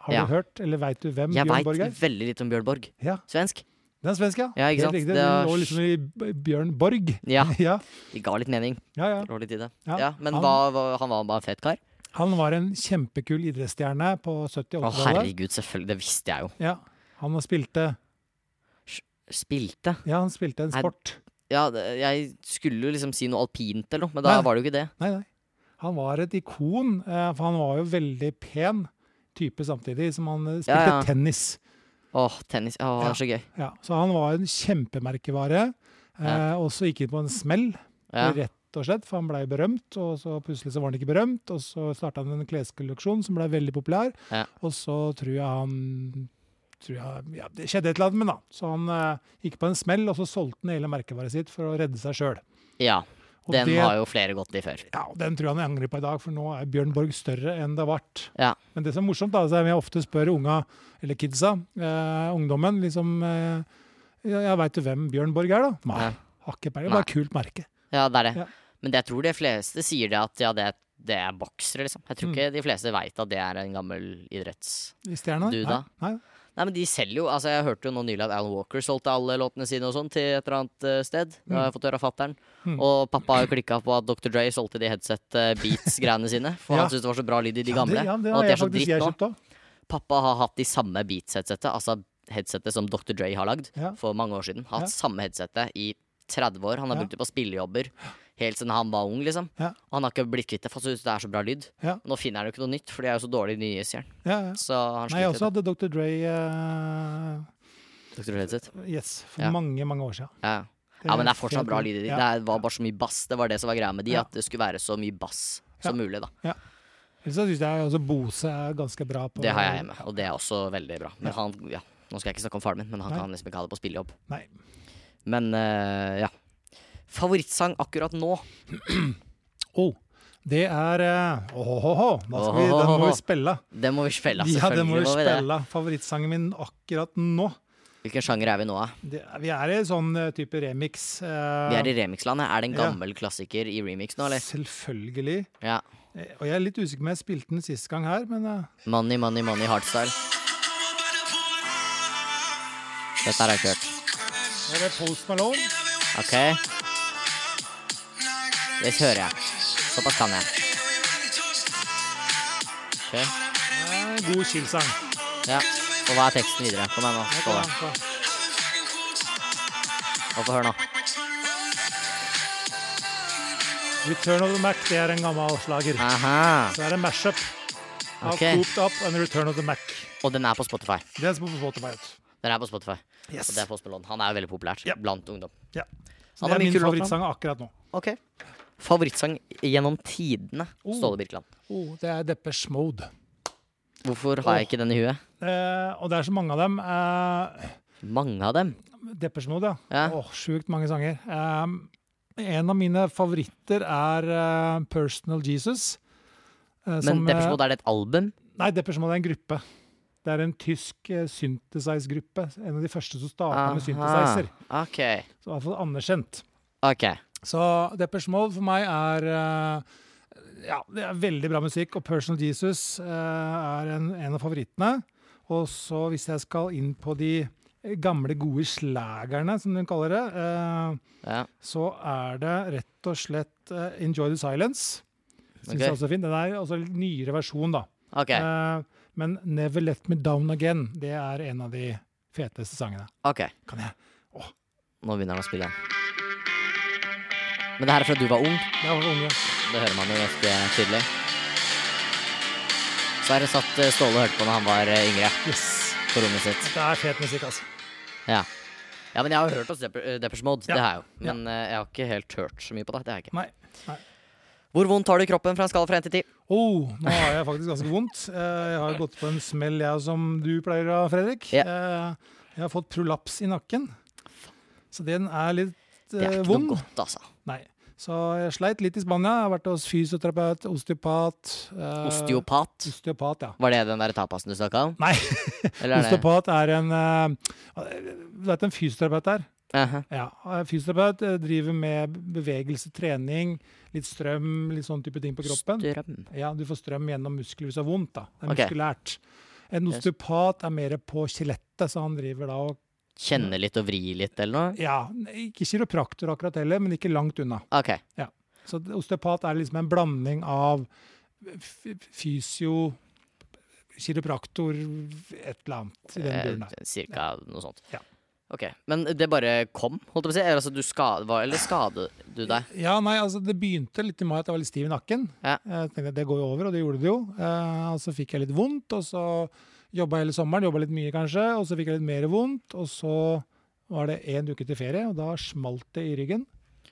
Speaker 2: Har
Speaker 1: Ja.
Speaker 2: du hørt, eller veit du hvem
Speaker 1: Jeg
Speaker 2: Bjørn Borg
Speaker 1: veit
Speaker 2: er?
Speaker 1: veldig lite om Bjørn Borg.
Speaker 2: Ja.
Speaker 1: Svensk.
Speaker 2: Den er svensk, ja.
Speaker 1: Ja, ikke sant?
Speaker 2: Helt riktig.
Speaker 1: Det er-
Speaker 2: Den lå liksom i B- Bjørn Borg.
Speaker 1: Ja,
Speaker 2: ja,
Speaker 1: de ga litt mening.
Speaker 2: ja, ja.
Speaker 1: Lå litt i det.
Speaker 2: Ja,
Speaker 1: Ja, men
Speaker 2: han-
Speaker 1: hva, hva, han var bare en fet kar?
Speaker 2: Han var en kjempekul idrettsstjerne på 70- og
Speaker 1: Å,
Speaker 2: 80-tallet.
Speaker 1: herregud, selvfølgelig. Det visste jeg jo.
Speaker 2: Ja. Han eh, spilte
Speaker 1: Spilte.
Speaker 2: Ja, han spilte en
Speaker 1: Nei,
Speaker 2: sport.
Speaker 1: Ja, det, jeg skulle jo liksom si noe alpint eller noe, men da
Speaker 2: Nei.
Speaker 1: var det jo ikke det.
Speaker 2: Nei, nei. Han var et ikon, eh, for han var jo veldig pen type samtidig som han eh, spilte
Speaker 1: Ja, ja.
Speaker 2: tennis.
Speaker 1: Åh, tennis. Åh, det
Speaker 2: Ja.
Speaker 1: er så gøy.
Speaker 2: Ja, så han var en kjempemerkevare, eh, og så gikk han på en smell,
Speaker 1: Ja.
Speaker 2: rett og slett, for han blei berømt, og så plutselig så var han ikke berømt, og så starta han en kleskolleksjon som blei veldig populær,
Speaker 1: Ja.
Speaker 2: og så tror jeg han tror jeg, ja, Det skjedde et eller annet med han, da. Så han eh, gikk på en smell, og så solgte han hele merkevaret sitt for å redde seg sjøl.
Speaker 1: ja.
Speaker 2: Og
Speaker 1: Den
Speaker 2: det-
Speaker 1: har jo flere gått i før.
Speaker 2: Ja, og den tror jeg han angrer på i dag, for nå er Bjørn Borg større enn det har vært.
Speaker 1: Ja.
Speaker 2: Men det som er morsomt, da, så er at jeg ofte spør unga, eller kidsa, eh, ungdommen, liksom eh, ja, Jeg veit jo hvem Bjørn Borg er, da. Nei,
Speaker 1: Ja.
Speaker 2: har ikke peiling. Bare kult merke.
Speaker 1: Ja, det er det.
Speaker 2: Ja.
Speaker 1: Men jeg tror de fleste sier det at ja, det, det er boksere, liksom. Jeg tror
Speaker 2: Mm.
Speaker 1: ikke de fleste veit at det er en gammel idretts...
Speaker 2: I stjerna.
Speaker 1: Du, da?
Speaker 2: Nei, nei.
Speaker 1: Nei, men de selger jo Altså, jeg hørte jo nå nylig at Alan Walker solgte alle låtene sine og sånn til et eller annet eh, sted. Det har jeg fått høre av fatter'n.
Speaker 2: Mm.
Speaker 1: Og pappa har jo klikka på at Dr. Dre solgte de headset-beats-greiene sine. For
Speaker 2: Ja.
Speaker 1: han syntes det var så bra lyd i de
Speaker 2: Ja,
Speaker 1: gamle.
Speaker 2: det, ja, det
Speaker 1: og at
Speaker 2: har
Speaker 1: de
Speaker 2: jeg
Speaker 1: er så
Speaker 2: faktisk
Speaker 1: dritt
Speaker 2: jeg
Speaker 1: nå.
Speaker 2: kjøpt òg.
Speaker 1: Pappa har hatt de samme beats-headsetet, altså headsetet som Dr. Dre har lagd,
Speaker 2: Ja.
Speaker 1: for mange år siden. Hatt
Speaker 2: Ja.
Speaker 1: samme headsetet i 30 år. Han har
Speaker 2: Ja.
Speaker 1: brukt det på spillejobber helt siden han var ung, liksom.
Speaker 2: Ja.
Speaker 1: Og han har ikke blitt kvitt det, for han synes det er så bra lyd.
Speaker 2: Ja.
Speaker 1: Nå finner han jo ikke noe nytt, for de er jo så dårlige nye, sier han.
Speaker 2: Ja, ja.
Speaker 1: Så han
Speaker 2: Nei, jeg
Speaker 1: sliter.
Speaker 2: også hadde Dr. Dre eh,
Speaker 1: med Dr. Dre headset.
Speaker 2: Yes, for
Speaker 1: Ja.
Speaker 2: mange, mange år siden.
Speaker 1: Ja. Ja, men det er fortsatt
Speaker 2: helt
Speaker 1: bra
Speaker 2: kult.
Speaker 1: lyd i de.
Speaker 2: Ja.
Speaker 1: Det var bare så mye bass. Det var det som var greia med de,
Speaker 2: Ja.
Speaker 1: at det skulle være så mye bass som mulig, da.
Speaker 2: Ellers så syns jeg også Bose er ganske bra på
Speaker 1: Det har jeg hjemme, og det er også veldig bra. Men han, ja, nå skal jeg ikke snakke om faren min, men han
Speaker 2: Nei.
Speaker 1: kan liksom ikke ha det på spillejobb.
Speaker 2: Nei.
Speaker 1: Men eh, ja. Favorittsang akkurat nå?
Speaker 2: Oh, det er eh, Åhåhå, da skal vi, den må
Speaker 1: Åhåhåhå.
Speaker 2: vi spille.
Speaker 1: Det må vi spille,
Speaker 2: Ja,
Speaker 1: selvfølgelig.
Speaker 2: det må vi
Speaker 1: må vi det.
Speaker 2: spille. Favorittsangen min akkurat nå.
Speaker 1: Hvilken sjanger er vi nå, da?
Speaker 2: Det, er- vi er i sånn eh, type remix. eh,
Speaker 1: Vi er i remixlandet. Er det en
Speaker 2: Ja.
Speaker 1: gammel klassiker i remix nå, eller?
Speaker 2: Selvfølgelig.
Speaker 1: Ja.
Speaker 2: Eh, Og jeg er litt usikker på om jeg spilte den sist gang her, men eh,
Speaker 1: Money, money, money, hardstyle. Dette her har jeg ikke hørt.
Speaker 2: er det Post Malone?
Speaker 1: Ok. Det hører jeg. Såpass kan jeg. Ok.
Speaker 2: Eh, god chill-sang.
Speaker 1: Ja. Og hva er teksten videre? Kom igjen, nå. Stå der. Og Få høre nå.
Speaker 2: Return of the Mac, det er en gammel slager.
Speaker 1: Aha.
Speaker 2: Så er det en mashup av
Speaker 1: Ok.
Speaker 2: Cooped Up and Return of the Mac.
Speaker 1: Og den er på Spotify.
Speaker 2: Det er som på Spotify. vet du.
Speaker 1: Den er på Spotify.
Speaker 2: Yes.
Speaker 1: Og det er Post Malone. Han er jo veldig populært
Speaker 2: Ja.
Speaker 1: blant ungdom.
Speaker 2: Ja. Så
Speaker 1: Han
Speaker 2: det
Speaker 1: har mye
Speaker 2: er min
Speaker 1: kule låter,
Speaker 2: favorittsang akkurat nå.
Speaker 1: Ok. Favorittsang gjennom tidene,
Speaker 2: Oh.
Speaker 1: Ståle Birkeland.
Speaker 2: Oh, det er Depeche Mode.
Speaker 1: Hvorfor har jeg ikke den i huet?
Speaker 2: Eh, og det er så mange av dem. Eh,
Speaker 1: Mange av dem.
Speaker 2: Depeche Mode, ja.
Speaker 1: Ja.
Speaker 2: Åh, Sjukt mange sanger. Um, en av mine favoritter er eh, Personal Jesus. eh,
Speaker 1: Men
Speaker 2: som, eh,
Speaker 1: Depeche Mode, er det et album?
Speaker 2: Nei, Depeche Mode er en gruppe. Det er en tysk uh, synthesize-gruppe. En av de første som starta med synthesizer.
Speaker 1: Aha. Ok.
Speaker 2: Så i hvert fall anerkjent.
Speaker 1: Ok.
Speaker 2: Så Depeche Mode for meg er eh, Ja, det er veldig bra musikk. Og Personal Jesus eh, er en, en av favorittene. Og så hvis jeg skal inn på de gamle, gode slagerne, som de kaller det, eh,
Speaker 1: Ja,
Speaker 2: så er det rett og slett eh, 'Enjoy the Silence'. Synes
Speaker 1: Ok.
Speaker 2: jeg også er fint. Den er altså en litt nyere versjon, da.
Speaker 1: ok.
Speaker 2: Eh, men 'Never Let Me Down Again' det er en av de feteste sangene.
Speaker 1: ok.
Speaker 2: Kan jeg?
Speaker 1: Nå begynner han å spille igjen. Men det her er fra du var ung.
Speaker 2: Det er for unge.
Speaker 1: Det hører man jo ganske tydelig. Så her satt eh, Ståle og hørte på når han var eh, yngre,
Speaker 2: Yes.
Speaker 1: på rommet sitt.
Speaker 2: Det er fet musikk, altså.
Speaker 1: Ja. ja, men jeg har jo hørt oss Dep Depeche Mode,
Speaker 2: Ja.
Speaker 1: det har jeg jo. Men eh, jeg har ikke helt hørt så mye på det. det har jeg ikke.
Speaker 2: Nei. Nei.
Speaker 1: Hvor vondt har du i kroppen fra en skala fra 1 til 10?
Speaker 2: Oh, nå har jeg faktisk ganske vondt. Eh, Jeg har gått på en smell, jeg, som du pleier å ha, Fredrik.
Speaker 1: Ja.
Speaker 2: Eh, Jeg har fått prolaps i nakken. Så den er litt
Speaker 1: Det er
Speaker 2: eh,
Speaker 1: ikke
Speaker 2: vond.
Speaker 1: noe godt, altså.
Speaker 2: Nei. Så jeg sleit litt i Spania. Jeg har vært hos fysioterapeut, osteopat eh,
Speaker 1: Osteopat.
Speaker 2: Osteopat, ja.
Speaker 1: Var det den der tapasen du snakka om?
Speaker 2: Nei,
Speaker 1: Eller er det
Speaker 2: osteopat er en eh, Du vet en fysioterapeut er?
Speaker 1: Aha.
Speaker 2: Ja. eh, Fysioterapeut eh, driver med bevegelse, trening, litt strøm, litt sånn type ting på kroppen.
Speaker 1: Strøm.
Speaker 2: Ja, du får strøm gjennom muskler hvis det er vondt. da. Det er
Speaker 1: Ok.
Speaker 2: muskulært. En
Speaker 1: Yes.
Speaker 2: osteopat er mer på skjelettet, så han driver da og
Speaker 1: Kjenne litt og vri litt, eller noe?
Speaker 2: Ja, ikke kiropraktor akkurat heller, men ikke langt unna.
Speaker 1: OK.
Speaker 2: Så d- osteopat er liksom en blanding av f- fysio, kiropraktor, et eller annet i den duren der.
Speaker 1: Eh, cirka noe sånt.
Speaker 2: Ja.
Speaker 1: Ok, Men det bare kom, holdt jeg på å si? Eller, altså, du ska- hva- eller skadet du deg?
Speaker 2: Ja, nei, altså Det begynte litt i mai at jeg var litt stiv i nakken.
Speaker 1: Ja.
Speaker 2: Jeg tenkte Det går jo over, og det gjorde det jo. Eh, og så fikk jeg litt vondt, og så jobba jeg hele sommeren, jobba litt mye kanskje, og så fikk jeg litt mer vondt. Og så var det én uke til ferie, og da smalt det i ryggen.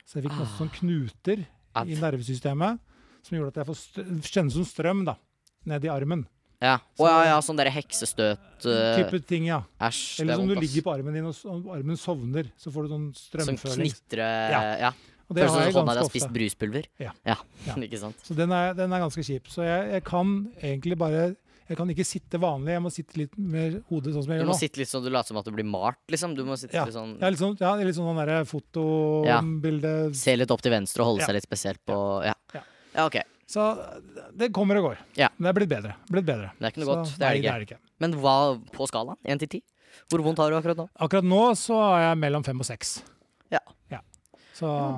Speaker 2: Så jeg fikk masse
Speaker 1: Ah.
Speaker 2: sånne knuter
Speaker 1: Au.
Speaker 2: i nervesystemet som gjorde at jeg får str- kjennes som strøm da, ned i armen.
Speaker 1: Ja. Å ja, ja, sånn derre heksestøt eh,
Speaker 2: Mm, Type ting, ja.
Speaker 1: Æsj. det
Speaker 2: Eller
Speaker 1: er
Speaker 2: som du
Speaker 1: vondt, ass.
Speaker 2: ligger på armen din, og, s- og armen sovner, så får du
Speaker 1: Sånn
Speaker 2: sånn strømføling.
Speaker 1: knitre Ja.
Speaker 2: Ja.
Speaker 1: ja.
Speaker 2: Og det
Speaker 1: Føles
Speaker 2: har
Speaker 1: som
Speaker 2: jeg
Speaker 1: hånda di
Speaker 2: ganske
Speaker 1: har spist
Speaker 2: ofte.
Speaker 1: bruspulver.
Speaker 2: Ja. Ja.
Speaker 1: ikke sant.
Speaker 2: Så den er, den er ganske kjip. Så jeg, jeg kan egentlig bare Jeg kan ikke sitte vanlig, jeg må sitte litt med hodet sånn som jeg
Speaker 1: Du
Speaker 2: gjør
Speaker 1: må
Speaker 2: nå.
Speaker 1: sitte litt sånn, du later som at du blir malt, liksom. Du må sitte
Speaker 2: Ja.
Speaker 1: litt sånn
Speaker 2: Jeg er litt sånn, ja, litt sånn den derre
Speaker 1: Ja.
Speaker 2: fotobilde
Speaker 1: Se litt opp til venstre og holde
Speaker 2: Ja.
Speaker 1: seg litt spesielt på Ja.
Speaker 2: Ja.
Speaker 1: Ja, OK.
Speaker 2: Så det kommer og går.
Speaker 1: Ja.
Speaker 2: Men det er blitt bedre. Blitt bedre.
Speaker 1: Det er ikke noe
Speaker 2: Så
Speaker 1: godt. Det er det
Speaker 2: nei,
Speaker 1: ikke. Men hva på skalaen? Én til ti? Hvor vondt har du akkurat nå?
Speaker 2: Akkurat nå så er jeg mellom fem og seks.
Speaker 1: Ja.
Speaker 2: Så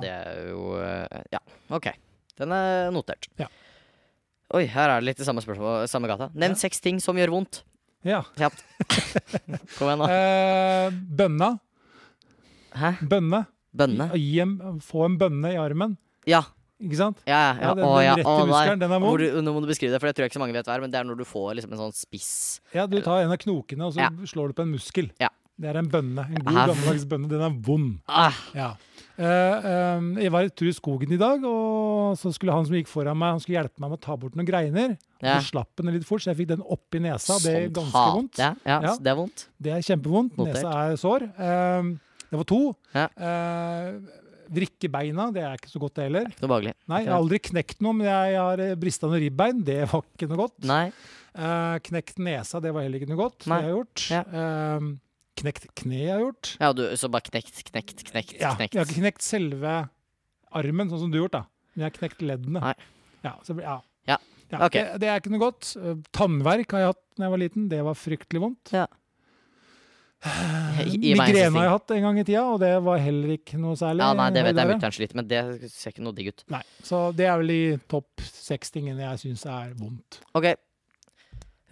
Speaker 1: Ja, Det er jo eh, Ja, OK. Den er notert.
Speaker 2: Ja.
Speaker 1: Oi, her er det litt i samme spørsmål, samme gata. Nevn seks ting som gjør vondt.
Speaker 2: ja.
Speaker 1: Kjapt. Kom igjen, nå.
Speaker 2: Eh, bønna.
Speaker 1: Hæ?
Speaker 2: Bønne.
Speaker 1: Bønne?
Speaker 2: Gi en, få en bønne i armen.
Speaker 1: Ja.
Speaker 2: Ikke sant?
Speaker 1: Ja, ja. ja.
Speaker 2: Ja, den-
Speaker 1: Å,
Speaker 2: den
Speaker 1: ja.
Speaker 2: rett i
Speaker 1: Å, nei.
Speaker 2: muskelen, den er
Speaker 1: Hvor du- Nå må du beskrive det, for det tror jeg ikke så mange vet hva er. Men det er når du får liksom en sånn spiss
Speaker 2: Ja, du tar en av knokene, og så
Speaker 1: Ja.
Speaker 2: slår du på en muskel.
Speaker 1: Ja.
Speaker 2: Det er en bønne. En god,
Speaker 1: Au.
Speaker 2: gammeldags bønne. Den er vond.
Speaker 1: ah,
Speaker 2: Ja. Eh, eh, jeg var en tur i skogen i dag, og så skulle han som gikk foran meg, han skulle hjelpe meg med å ta bort noen greiner. Og
Speaker 1: Ja.
Speaker 2: Så slapp han det litt fort, så jeg fikk den oppi nesa. Det er
Speaker 1: sånt sånn
Speaker 2: ganske
Speaker 1: hat.
Speaker 2: vondt.
Speaker 1: Ja, ja,
Speaker 2: Ja.
Speaker 1: så Det er vondt.
Speaker 2: Det er kjempevondt.
Speaker 1: Notert.
Speaker 2: Nesa er sår. Eh, det var to.
Speaker 1: Ja.
Speaker 2: Eh, vrikke beina, det er ikke så godt det heller.
Speaker 1: Ikke noe behagelig.
Speaker 2: Nei, jeg har aldri knekt noe, men jeg har eh, brista noen ribbein. Det var ikke noe godt.
Speaker 1: Nei.
Speaker 2: Eh, knekt nesa, det var heller ikke noe godt.
Speaker 1: Nei.
Speaker 2: Det har jeg gjort.
Speaker 1: Ja.
Speaker 2: Eh, knekt kne har jeg gjort.
Speaker 1: Ja, du, så bare knekt, knekt, knekt,
Speaker 2: Ja,
Speaker 1: knekt.
Speaker 2: jeg har ikke knekt selve armen, sånn som du har gjort, da. Men jeg har knekt leddene.
Speaker 1: Nei.
Speaker 2: Ja, så, ja.
Speaker 1: Ja, ok.
Speaker 2: det, det er ikke noe godt. Eh, Tannverk har jeg hatt da jeg var liten. Det var fryktelig vondt. Eh,
Speaker 1: Ja. Gi- gi meg en siste
Speaker 2: Migrene har
Speaker 1: ting.
Speaker 2: jeg hatt en gang i tida, og det var heller ikke noe særlig.
Speaker 1: Ja, nei, det vet jeg
Speaker 2: høydere.
Speaker 1: mutter'n sliter med. Det ser ikke noe digg ut.
Speaker 2: Nei, Så det er vel i topp seks tingene jeg syns er vondt.
Speaker 1: Ok.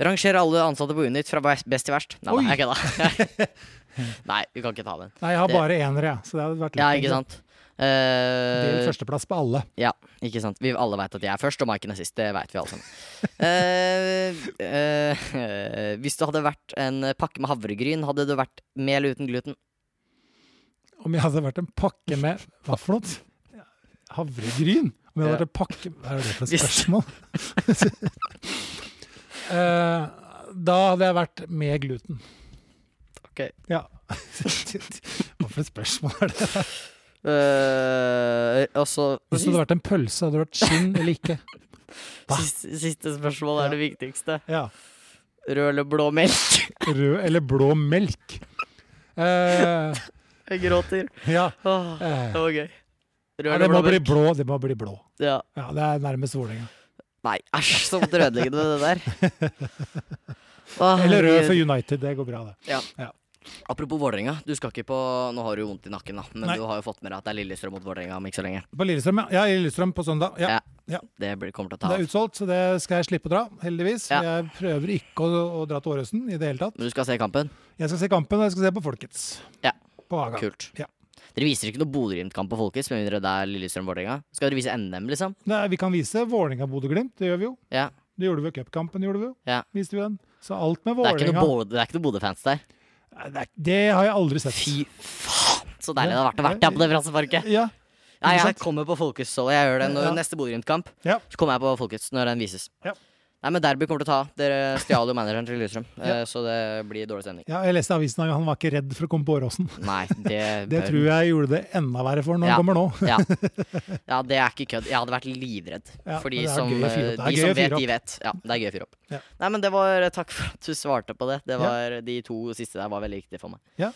Speaker 1: Ranger alle ansatte på Unit fra best best til verst. Nei,
Speaker 2: Oi.
Speaker 1: nei, jeg kødda. nei, vi kan ikke ta den.
Speaker 2: Nei, jeg har
Speaker 1: Det-
Speaker 2: bare enere, jeg. Så det hadde vært
Speaker 1: Ja,
Speaker 2: egentlig.
Speaker 1: ikke sant.
Speaker 2: Del
Speaker 1: Eh,
Speaker 2: førsteplass på alle.
Speaker 1: ja, ikke sant. Vi alle veit at jeg er først, og Maiken er sist. Det veit vi alle sammen. Eh, eh, hvis det hadde vært en pakke med havregryn, hadde det vært mel uten gluten?
Speaker 2: Om jeg hadde vært en pakke med Hva for noe? Havregryn? Om jeg hadde
Speaker 1: Ja.
Speaker 2: vært en pakke Hva er det for et
Speaker 1: Hvis-
Speaker 2: spørsmål? Eh, da hadde jeg vært med gluten.
Speaker 1: Ok.
Speaker 2: Ja. Hva for et spørsmål er det?
Speaker 1: Eh, og så
Speaker 2: Hvis det hadde vært en pølse, hadde det vært skinn eller ikke? Hva?
Speaker 1: Siste, siste spørsmål er det viktigste.
Speaker 2: Ja.
Speaker 1: Rød eller blå melk?
Speaker 2: Rød eller blå melk? Eh,
Speaker 1: Jeg gråter.
Speaker 2: ja.
Speaker 1: Åh,
Speaker 2: eh,
Speaker 1: det var gøy. Rød
Speaker 2: ja,
Speaker 1: eller
Speaker 2: det må
Speaker 1: blå
Speaker 2: bli
Speaker 1: melk?
Speaker 2: blå. Det må bli blå.
Speaker 1: Ja.
Speaker 2: Ja, det er nærmest Vålerenga.
Speaker 1: Nei, æsj, så vondt ødeleggende det der. Åh,
Speaker 2: Eller rød
Speaker 1: herregud.
Speaker 2: for United. Det går bra, det.
Speaker 1: Ja.
Speaker 2: Ja.
Speaker 1: Apropos Vålerenga. Du skal ikke på Nå har du jo vondt i nakken, da. Men
Speaker 2: Nei.
Speaker 1: du har jo fått med deg at det er Lillestrøm mot Vålerenga om ikke så lenge.
Speaker 2: På Lillestrøm, ja. ja. i Lillestrøm på søndag. Ja.
Speaker 1: Ja.
Speaker 2: Ja.
Speaker 1: Det blir, kommer til å
Speaker 2: Det
Speaker 1: ta
Speaker 2: er
Speaker 1: av.
Speaker 2: utsolgt, så det skal jeg slippe å dra, heldigvis.
Speaker 1: Ja.
Speaker 2: Jeg prøver ikke å, å dra til Årøsen i det hele tatt.
Speaker 1: Men du skal se kampen?
Speaker 2: Jeg skal se kampen, og jeg skal se på Folkets.
Speaker 1: Ja.
Speaker 2: På Haga.
Speaker 1: Kult.
Speaker 2: Ja.
Speaker 1: Dere viser ikke noe Bodø-Glimt-kamp på Folkets, med mindre det er Lillestrøm-Vålerenga? Skal dere vise NM, liksom?
Speaker 2: Nei, vi kan vise Vålerenga-Bodø-Glimt, det gjør vi jo.
Speaker 1: Ja.
Speaker 2: Det gjorde vi jo i cupkampen, gjorde vi jo.
Speaker 1: Ja.
Speaker 2: Viste vi den. Så alt med
Speaker 1: Det er ikke
Speaker 2: Vålerenga
Speaker 1: noe Bo- det er ikke noe Bodø-fans der.
Speaker 2: Nei, det, er- det har jeg aldri sett.
Speaker 1: Fy faen, så deilig det har vært å være på det Brasseparket.
Speaker 2: Ja.
Speaker 1: Nei,
Speaker 2: Ikke
Speaker 1: jeg
Speaker 2: sant?
Speaker 1: kommer på Folkets så Jeg gjør det når
Speaker 2: Ja.
Speaker 1: neste Bodø-Glimt-kamp.
Speaker 2: Ja.
Speaker 1: Så kommer jeg på Folkets når den vises.
Speaker 2: Ja.
Speaker 1: Nei, men Derby kommer til å ta. av. Dere stjal jo manageren til Lillestrøm, eh, så det blir dårlig stemning.
Speaker 2: ja, jeg leste i avisen at han var ikke redd for å komme på Åråsen.
Speaker 1: Nei, det
Speaker 2: Det tror jeg gjorde det enda verre for han når
Speaker 1: Ja.
Speaker 2: han kommer nå.
Speaker 1: Ja. ja, det er ikke kødd. Jeg hadde vært livredd.
Speaker 2: Ja,
Speaker 1: Fordi
Speaker 2: men det er
Speaker 1: som, eh,
Speaker 2: gøy å fyre opp. Det
Speaker 1: de
Speaker 2: er gøy
Speaker 1: som
Speaker 2: å fyre
Speaker 1: vet,
Speaker 2: opp.
Speaker 1: de vet. Ja, det er gøy å fyre opp.
Speaker 2: Ja.
Speaker 1: Nei, men det var eh, Takk for at du svarte på det. Det
Speaker 2: Ja.
Speaker 1: var eh, De to siste der var veldig viktige for meg.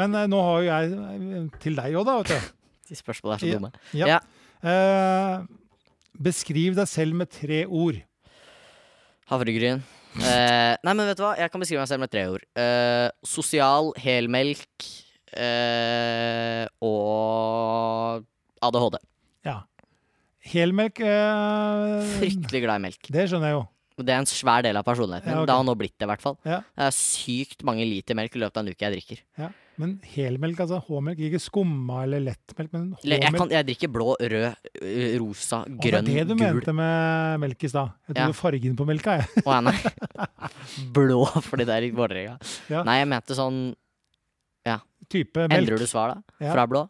Speaker 2: Men eh, nå har jo jeg eh, til deg òg, da. vet
Speaker 1: De spørsmålene er
Speaker 2: Ja.
Speaker 1: så dumme.
Speaker 2: du. Ja.
Speaker 1: Ja.
Speaker 2: Eh, beskriv deg selv med tre ord.
Speaker 1: Havregryn. Eh, nei, men vet du hva? Jeg kan beskrive meg selv med tre ord. Eh, sosial, helmelk eh, og ADHD.
Speaker 2: Ja. Helmelk eh,
Speaker 1: Fryktelig glad i melk.
Speaker 2: Det skjønner jeg jo.
Speaker 1: Og Det er en svær del av personligheten min.
Speaker 2: Ja, ok.
Speaker 1: Det har nå blitt det, i hvert fall.
Speaker 2: Ja.
Speaker 1: Det er sykt mange liter melk i løpet av en uke jeg drikker.
Speaker 2: Ja. Men helmelk, altså H-melk, ikke skumma eller lettmelk, men
Speaker 1: Eller, jeg,
Speaker 2: H-melk.
Speaker 1: kan, jeg drikker blå, rød, ø, rosa,
Speaker 2: Å,
Speaker 1: grønn,
Speaker 2: Det var det du
Speaker 1: gul
Speaker 2: mente med melk i stad. Jeg
Speaker 1: Ja.
Speaker 2: trodde fargen på melka, jeg.
Speaker 1: Å, nei, nei. Blå fordi det er i Vålerenga.
Speaker 2: Ja.
Speaker 1: Nei, jeg mente sånn
Speaker 2: Type melk.
Speaker 1: Endrer du svar, da?
Speaker 2: Ja.
Speaker 1: Fra blå?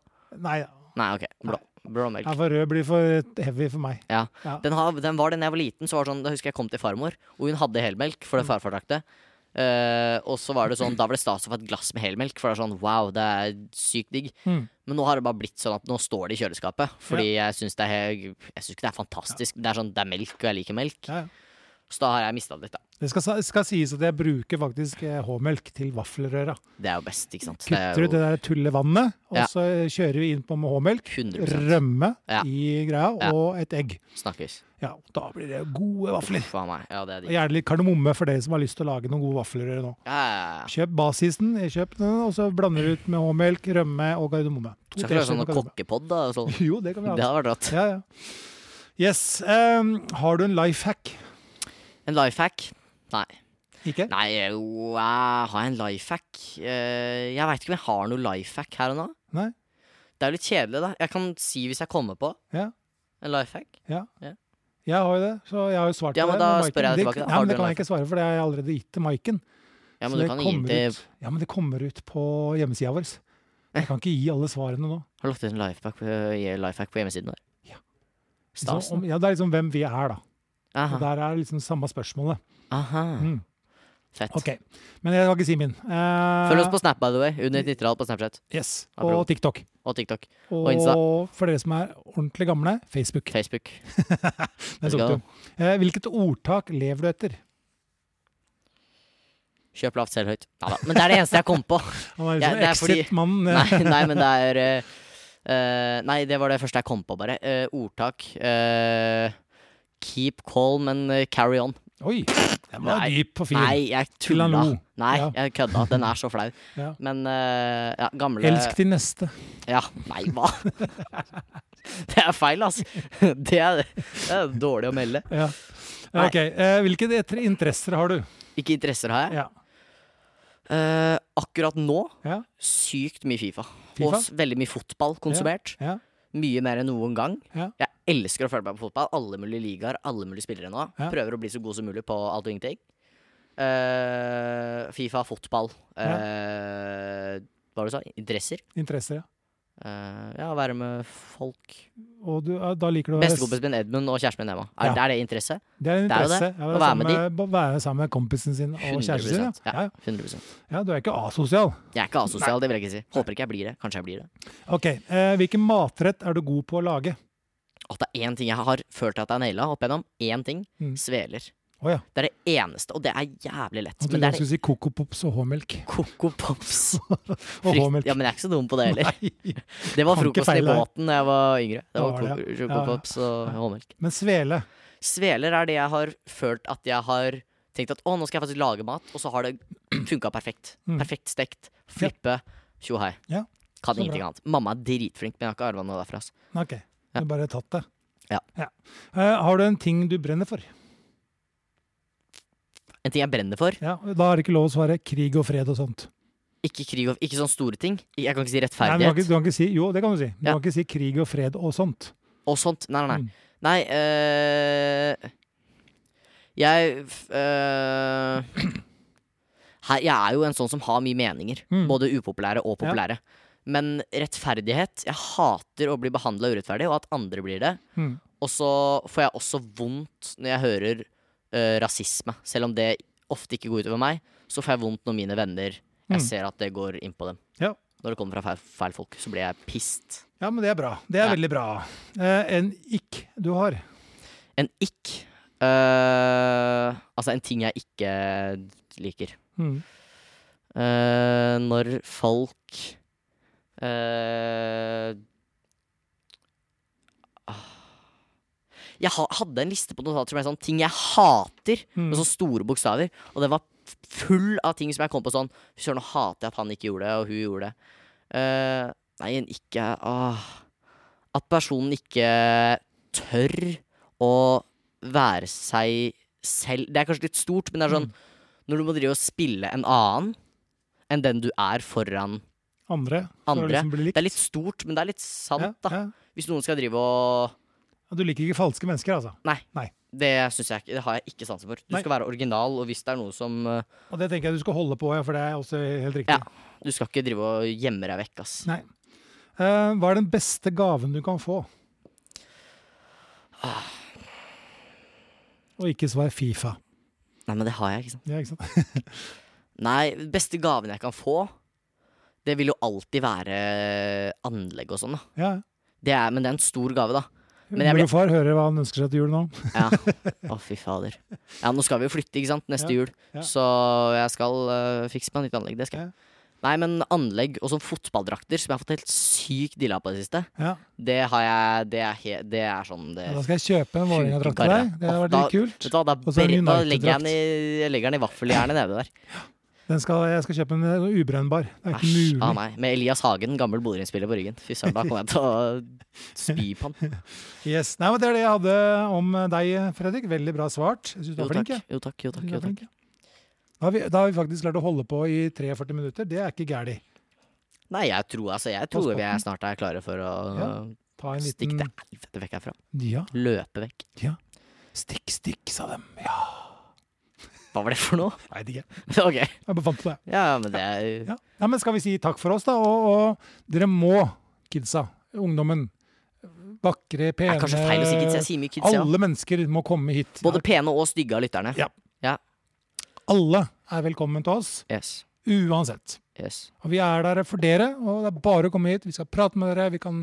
Speaker 2: Nei,
Speaker 1: Nei, OK. Blå. Blå melk.
Speaker 2: ja, for rød blir for heavy for meg.
Speaker 1: Den, har, den var det da jeg var liten. Så var det sånn, Da husker jeg kom til farmor, og hun hadde helmelk
Speaker 2: Mm.
Speaker 1: fordi farfar drakk det. Eh, og så var det sånn, da var det stas å få et glass med helmelk, for det er sånn wow, det er sykt digg.
Speaker 2: Mm.
Speaker 1: Men nå har det bare blitt sånn at nå står det i kjøleskapet. Fordi jeg syns det, er he- jeg synes ikke det er fantastisk. Det er sånn, det er melk, og jeg liker melk.
Speaker 2: Ja, ja.
Speaker 1: Så da har jeg mista det litt, da.
Speaker 2: Det skal, sa- skal sies at jeg bruker faktisk eh, H-melk til vaffelrøra.
Speaker 1: Det er jo best, ikke sant. Det er
Speaker 2: Kutter
Speaker 1: jo
Speaker 2: ut det der tullevannet, og
Speaker 1: Ja.
Speaker 2: så eh, kjører vi inn på med H-melk.
Speaker 1: 100
Speaker 2: Rømme
Speaker 1: Ja.
Speaker 2: i greia,
Speaker 1: Ja.
Speaker 2: og et egg.
Speaker 1: Snakkes.
Speaker 2: Ja, da blir det gode vafler.
Speaker 1: Faen meg. Ja, det er
Speaker 2: Og
Speaker 1: digg.
Speaker 2: Gjerne litt kardemomme for dere som har lyst til å lage noen gode vaffelrøre nå.
Speaker 1: Ja, ja, ja.
Speaker 2: Kjøp basisen, eh, kjøp den, og så blander du ut med H-melk, rømme og kardemomme. To
Speaker 1: Skal ikke lage
Speaker 2: teskjeer
Speaker 1: sånn
Speaker 2: med kardemomme.
Speaker 1: kokkepod, da? og Sånn.
Speaker 2: Jo, det kan
Speaker 1: Det
Speaker 2: vi ha.
Speaker 1: hadde vært rått.
Speaker 2: Ja, ja. Yes. ehm, har du en life hack?
Speaker 1: En life hack? Nei.
Speaker 2: Ikke?
Speaker 1: Nei, jo, jeg har jeg en life hack? Eh, Jeg veit ikke om jeg har noe life hack her og nå.
Speaker 2: Nei.
Speaker 1: Det er jo litt kjedelig, da. Jeg kan si hvis jeg kommer på
Speaker 2: Ja.
Speaker 1: en life hack.
Speaker 2: Jeg har jo det, så jeg har jo svart
Speaker 1: Ja,
Speaker 2: på
Speaker 1: men
Speaker 2: det.
Speaker 1: da spør jeg
Speaker 2: med Maiken. det,
Speaker 1: tilbake, da.
Speaker 2: Nei,
Speaker 1: Har
Speaker 2: men
Speaker 1: du
Speaker 2: det
Speaker 1: en
Speaker 2: kan jeg
Speaker 1: life
Speaker 2: ikke svare for, det har jeg allerede gitt til Maiken.
Speaker 1: Ja,
Speaker 2: Så
Speaker 1: men du
Speaker 2: det
Speaker 1: kan gi den
Speaker 2: kommer
Speaker 1: til
Speaker 2: ut. Ja, men det kommer ut på hjemmesida vår. Jeg kan ikke gi alle svarene nå.
Speaker 1: Har du lagt ut en life hack på, life hack på hjemmesiden vår?
Speaker 2: Ja.
Speaker 1: Stas.
Speaker 2: Så om, ja, det er liksom hvem vi er, da. Og
Speaker 1: Aha.
Speaker 2: der er liksom samme spørsmålet.
Speaker 1: Aha.
Speaker 2: Mm.
Speaker 1: Fett.
Speaker 2: Ok, Men jeg skal ikke si min. Eh,
Speaker 1: Følg oss på Snap, by the way. Under 90-tall på Snapchat
Speaker 2: Yes,
Speaker 1: Apropos.
Speaker 2: Og TikTok.
Speaker 1: og TikTok.
Speaker 2: Og,
Speaker 1: Insta.
Speaker 2: for dere som er ordentlig gamle, Facebook.
Speaker 1: Facebook.
Speaker 2: Den tok
Speaker 1: skal-
Speaker 2: du. Eh, hvilket ordtak lever du etter?
Speaker 1: Kjøp lavt, selg høyt. Neida, Men det er det eneste jeg kom på.
Speaker 2: Han er
Speaker 1: Ja,
Speaker 2: liksom
Speaker 1: det er fordi-
Speaker 2: Exit-mannen. eh.
Speaker 1: Nei, nei men det er eh, eh, Nei, det var det første jeg kom på, bare. Eh, ordtak. eh, keep calm and eh, carry on.
Speaker 2: Oi! Den var
Speaker 1: Nei.
Speaker 2: dyp og fin.
Speaker 1: Nei, jeg
Speaker 2: Til han
Speaker 1: tulla.
Speaker 2: lo.
Speaker 1: Nei,
Speaker 2: Ja.
Speaker 1: jeg kødda. Den er så flau.
Speaker 2: Ja.
Speaker 1: Men eh, ja, gamle
Speaker 2: Elsk din neste.
Speaker 1: Ja, nei, hva? Det er feil, altså. Det er, det er dårlig å melde.
Speaker 2: Ja.
Speaker 1: Nei.
Speaker 2: Ok, eh, Hvilke etter- interesser har du?
Speaker 1: Ikke interesser har jeg.
Speaker 2: Ja.
Speaker 1: Eh, akkurat nå
Speaker 2: Ja.
Speaker 1: sykt mye Fifa.
Speaker 2: FIFA?
Speaker 1: Og s- veldig mye fotball konsumert.
Speaker 2: ja.
Speaker 1: Mye mer enn noen gang.
Speaker 2: Ja.
Speaker 1: Jeg elsker å følge meg på fotball. Alle mulige ligaer, alle mulige spillere nå.
Speaker 2: Ja.
Speaker 1: Prøver å bli så god som mulig på alt og ingenting. Eh, Fifa, fotball eh, Hva var det du sa? Interesser?
Speaker 2: Interesser, ja.
Speaker 1: Eh, ja, være med folk.
Speaker 2: Og du, ja, da liker du å være s-
Speaker 1: Bestekompisen min Edmund og kjæresten min Emma. Er,
Speaker 2: Ja.
Speaker 1: er det interesse?
Speaker 2: Det er en
Speaker 1: Det er jo
Speaker 2: interesse.
Speaker 1: det.
Speaker 2: Ja,
Speaker 1: Å være med
Speaker 2: sammen, med- være sammen med kompisen sin og kjæresten sin.
Speaker 1: 100%,
Speaker 2: Ja. Ja,
Speaker 1: ja, 100
Speaker 2: ja. ja, du er ikke asosial.
Speaker 1: Jeg er ikke asosial, det vil jeg ikke si. Håper ikke jeg blir det. Kanskje jeg blir det.
Speaker 2: Ok, eh, Hvilken matrett er du god på å lage?
Speaker 1: At det er én ting jeg har følt at jeg har naila opp igjennom. Én ting.
Speaker 2: Mm.
Speaker 1: Sveler.
Speaker 2: Å ja.
Speaker 1: Det er det eneste, og det er jævlig lett.
Speaker 2: Jeg
Speaker 1: Men det
Speaker 2: trodde du
Speaker 1: er
Speaker 2: skulle si Coco Pops og H-melk.
Speaker 1: Coco Pops.
Speaker 2: Og
Speaker 1: Frykt-
Speaker 2: H-melk.
Speaker 1: Ja, men jeg er ikke så dum på det heller.
Speaker 2: Nei.
Speaker 1: Det var
Speaker 2: Kan ikke
Speaker 1: frokosten i
Speaker 2: feile her.
Speaker 1: båten da jeg var yngre. Det
Speaker 2: Det
Speaker 1: var
Speaker 2: var det, ja.
Speaker 1: Coco
Speaker 2: Ja, ja.
Speaker 1: Pops og håndmelk.
Speaker 2: Men svele.
Speaker 1: Sveler er det jeg har følt at jeg har Tenkte at å, nå skal jeg faktisk lage mat, og så har det funka perfekt.
Speaker 2: Mm.
Speaker 1: Perfekt stekt. Flippe. Tjo hei.
Speaker 2: Ja,
Speaker 1: Kan
Speaker 2: så
Speaker 1: ingenting annet. Mamma er dritflink, men jeg har ikke arva noe derfra. ass.
Speaker 2: Nei, OK. Du har bare tatt det.
Speaker 1: Ja.
Speaker 2: Eh, har du en ting du brenner for?
Speaker 1: En ting jeg brenner for.
Speaker 2: Ja, Da er det ikke lov å svare krig og fred og sånt.
Speaker 1: Ikke krig og Ikke sånne store ting. Jeg kan ikke si
Speaker 2: Nei, men du, kan
Speaker 1: rettferdighet
Speaker 2: ikke, du kan ikke si Jo, det kan du si. Du
Speaker 1: Ja.
Speaker 2: kan ikke si krig og fred og sånt.
Speaker 1: og sånt. Nei, nei, nei.
Speaker 2: Mm.
Speaker 1: Nei, øh, jeg f- øh, her, Jeg er jo en sånn som har mye meninger.
Speaker 2: Mm.
Speaker 1: Både upopulære og
Speaker 2: Ja.
Speaker 1: populære. Men rettferdighet Jeg hater å bli behandla urettferdig, og at andre blir det.
Speaker 2: Mm.
Speaker 1: Og så får jeg også vondt når jeg hører øh, rasisme. Selv om det ofte ikke går utover meg, så får jeg vondt når mine venner
Speaker 2: Mm.
Speaker 1: Jeg ser at det går inn på dem.
Speaker 2: Ja.
Speaker 1: Når det kommer fra feil, feil folk, så blir jeg pissed.
Speaker 2: Ja, men det er bra. Det er
Speaker 1: Ja.
Speaker 2: veldig bra. Eh, en ikk du har.
Speaker 1: En ikk. øh, altså en ting jeg ikke liker.
Speaker 2: Mm.
Speaker 1: Eh, når folk eh, ah. Jeg ha, hadde en liste på notater som er sånn ting jeg hater,
Speaker 2: Mm.
Speaker 1: med sånne store bokstaver. Og den var f- full av ting som jeg kom på sånn Fy søren, nå hater jeg at han ikke gjorde det, og hun gjorde det. Eh, nei, en ikke ah. At personen ikke tør å være seg selv. Det er kanskje litt stort, men det er sånn når du må drive og spille en annen enn den du er foran
Speaker 2: Andre.
Speaker 1: Andre.
Speaker 2: For å liksom bli likt.
Speaker 1: Det er litt stort, men det er litt sant, da.
Speaker 2: Ja, ja.
Speaker 1: Hvis noen skal drive og
Speaker 2: Ja, Du liker ikke falske mennesker, altså.
Speaker 1: Det syns jeg ikke. Det har jeg ikke sansen for. Du
Speaker 2: Nei.
Speaker 1: skal være original, og hvis det er noe som eh,
Speaker 2: Og det tenker jeg du skal holde på, ja, for det er også helt riktig.
Speaker 1: Ja. Du skal ikke drive og gjemme deg vekk, ass.
Speaker 2: Nei. Eh, hva er den beste gaven du kan få? Og ikke svar Fifa.
Speaker 1: Nei, men det har jeg, ikke sant.
Speaker 2: Ja, ikke sant?
Speaker 1: Nei, beste gaven jeg kan få, det vil jo alltid være anlegg og sånn, da.
Speaker 2: Ja.
Speaker 1: Det er, men det er en stor gave, da. Men jeg
Speaker 2: Mor
Speaker 1: blir-
Speaker 2: og far hører hva han ønsker seg til jul nå.
Speaker 1: Ja. Å, fy fader. Ja, nå skal vi jo flytte, ikke sant? Neste
Speaker 2: Ja,
Speaker 1: jul.
Speaker 2: ja.
Speaker 1: Så jeg skal eh, fikse meg nytt anlegg. Det skal jeg. Nei, men anlegg og sånn fotballdrakter, som jeg har fått helt sykt dilla på i det siste,
Speaker 2: Ja.
Speaker 1: det har jeg Det er, he, det er sånn det
Speaker 2: Ja, Da skal jeg kjøpe en Vålerenga-drakt til
Speaker 1: Sjuke
Speaker 2: deg. Det hadde
Speaker 1: karre.
Speaker 2: vært litt kult.
Speaker 1: Vet du hva, da,
Speaker 2: Og så en
Speaker 1: ber- da
Speaker 2: United-drakt.
Speaker 1: legger jeg den i, jeg legger den i vaffeljernet nede der.
Speaker 2: Den skal, jeg skal kjøpe en eh, ubrennbar. Det er
Speaker 1: Æsj.
Speaker 2: ikke
Speaker 1: Ah,
Speaker 2: mulig.
Speaker 1: nei. Med Elias Hagen, gammel Bodø-innspiller, på ryggen. Fy søren, da kommer jeg til å spy på han.
Speaker 2: Yes. Nei, men Det er det jeg hadde om eh, deg, Fredrik. Veldig bra svart. Jeg syns du
Speaker 1: Jo
Speaker 2: er
Speaker 1: takk,
Speaker 2: flink. jeg.
Speaker 1: jo takk. jo takk,
Speaker 2: Du
Speaker 1: jo
Speaker 2: er
Speaker 1: takk.
Speaker 2: flink, ja. Da har, vi, da har vi faktisk klart å holde på i 43 minutter. Det er ikke gærent.
Speaker 1: Nei, jeg tror altså, jeg tror vi er snart er klare for å
Speaker 2: Ta en
Speaker 1: stikke
Speaker 2: liten
Speaker 1: til helvete vekk herfra.
Speaker 2: Ja.
Speaker 1: Løpe vekk.
Speaker 2: Stikk, stikk, sa dem. Ja.
Speaker 1: Hva var det for noe?
Speaker 2: Nei, det er ikke.
Speaker 1: ok.
Speaker 2: Jeg bare fant på det.
Speaker 1: Ja, men det er jo
Speaker 2: Ja. Nei, men skal vi si takk for oss, da? Og, og dere må, kidsa, ungdommen. Vakre,
Speaker 1: Det
Speaker 2: pene
Speaker 1: er kanskje feil å si kids. Jeg sier mye kids, jeg òg.
Speaker 2: Alle mennesker må komme hit.
Speaker 1: Både pene og stygge av lytterne.
Speaker 2: Ja. Alle er velkommen til oss,
Speaker 1: Yes.
Speaker 2: uansett.
Speaker 1: yes.
Speaker 2: Og vi er der for dere, og det er bare å komme hit. Vi skal prate med dere, vi kan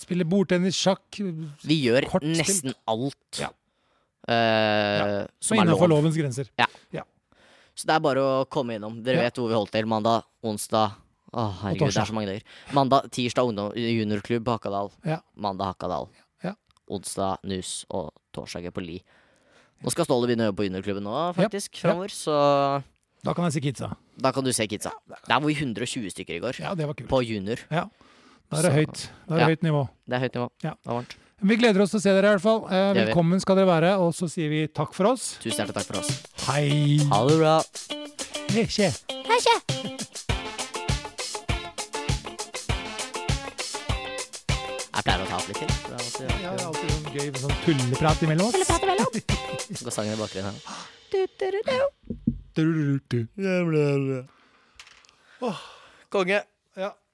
Speaker 2: spille bordtennis, sjakk
Speaker 1: Vi gjør
Speaker 2: Kort spilt.
Speaker 1: nesten alt
Speaker 2: Ja.
Speaker 1: eh, som er
Speaker 2: innenfor
Speaker 1: lov.
Speaker 2: lovens grenser.
Speaker 1: Så det er bare å komme innom. Dere
Speaker 2: Ja.
Speaker 1: vet hvor vi holder til. Mandag, onsdag Å, herregud, det
Speaker 2: torsdag.
Speaker 1: er så mange dager. Mandag, tirsdag ungdom, juniorklubb Hakadal.
Speaker 2: Ja.
Speaker 1: Mandag Hakadal.
Speaker 2: Ja.
Speaker 1: Onsdag Nus og torsdag på Li. Nå skal Ståle begynne å øve på juniorklubben nå, faktisk,
Speaker 2: Ja.
Speaker 1: framover. Så
Speaker 2: Da kan jeg si kidsa.
Speaker 1: da kan du se kidsa. Der var vi 120 stykker i går.
Speaker 2: Ja, det var kult.
Speaker 1: På junior.
Speaker 2: Da er det høyt. Da er
Speaker 1: Ja.
Speaker 2: det høyt nivå.
Speaker 1: Det er høyt nivå.
Speaker 2: Ja.
Speaker 1: Det var varmt.
Speaker 2: Vi gleder oss til å se dere, i hvert fall. Eh,
Speaker 1: Det gjør vi.
Speaker 2: velkommen skal dere være, og så sier vi takk for oss.
Speaker 1: Tusen hjertelig takk for oss.
Speaker 2: Hei!
Speaker 1: Ha det bra.
Speaker 2: Hei, skje.
Speaker 1: Jeg pleier å ta opp litt til. for det er alltid-
Speaker 2: Ja, det er alltid sånn gøy med sånn tulleprat imellom oss.
Speaker 1: Går sangen i bakgrunnen her.
Speaker 2: Tulleprat.
Speaker 1: Konge.
Speaker 2: Ja.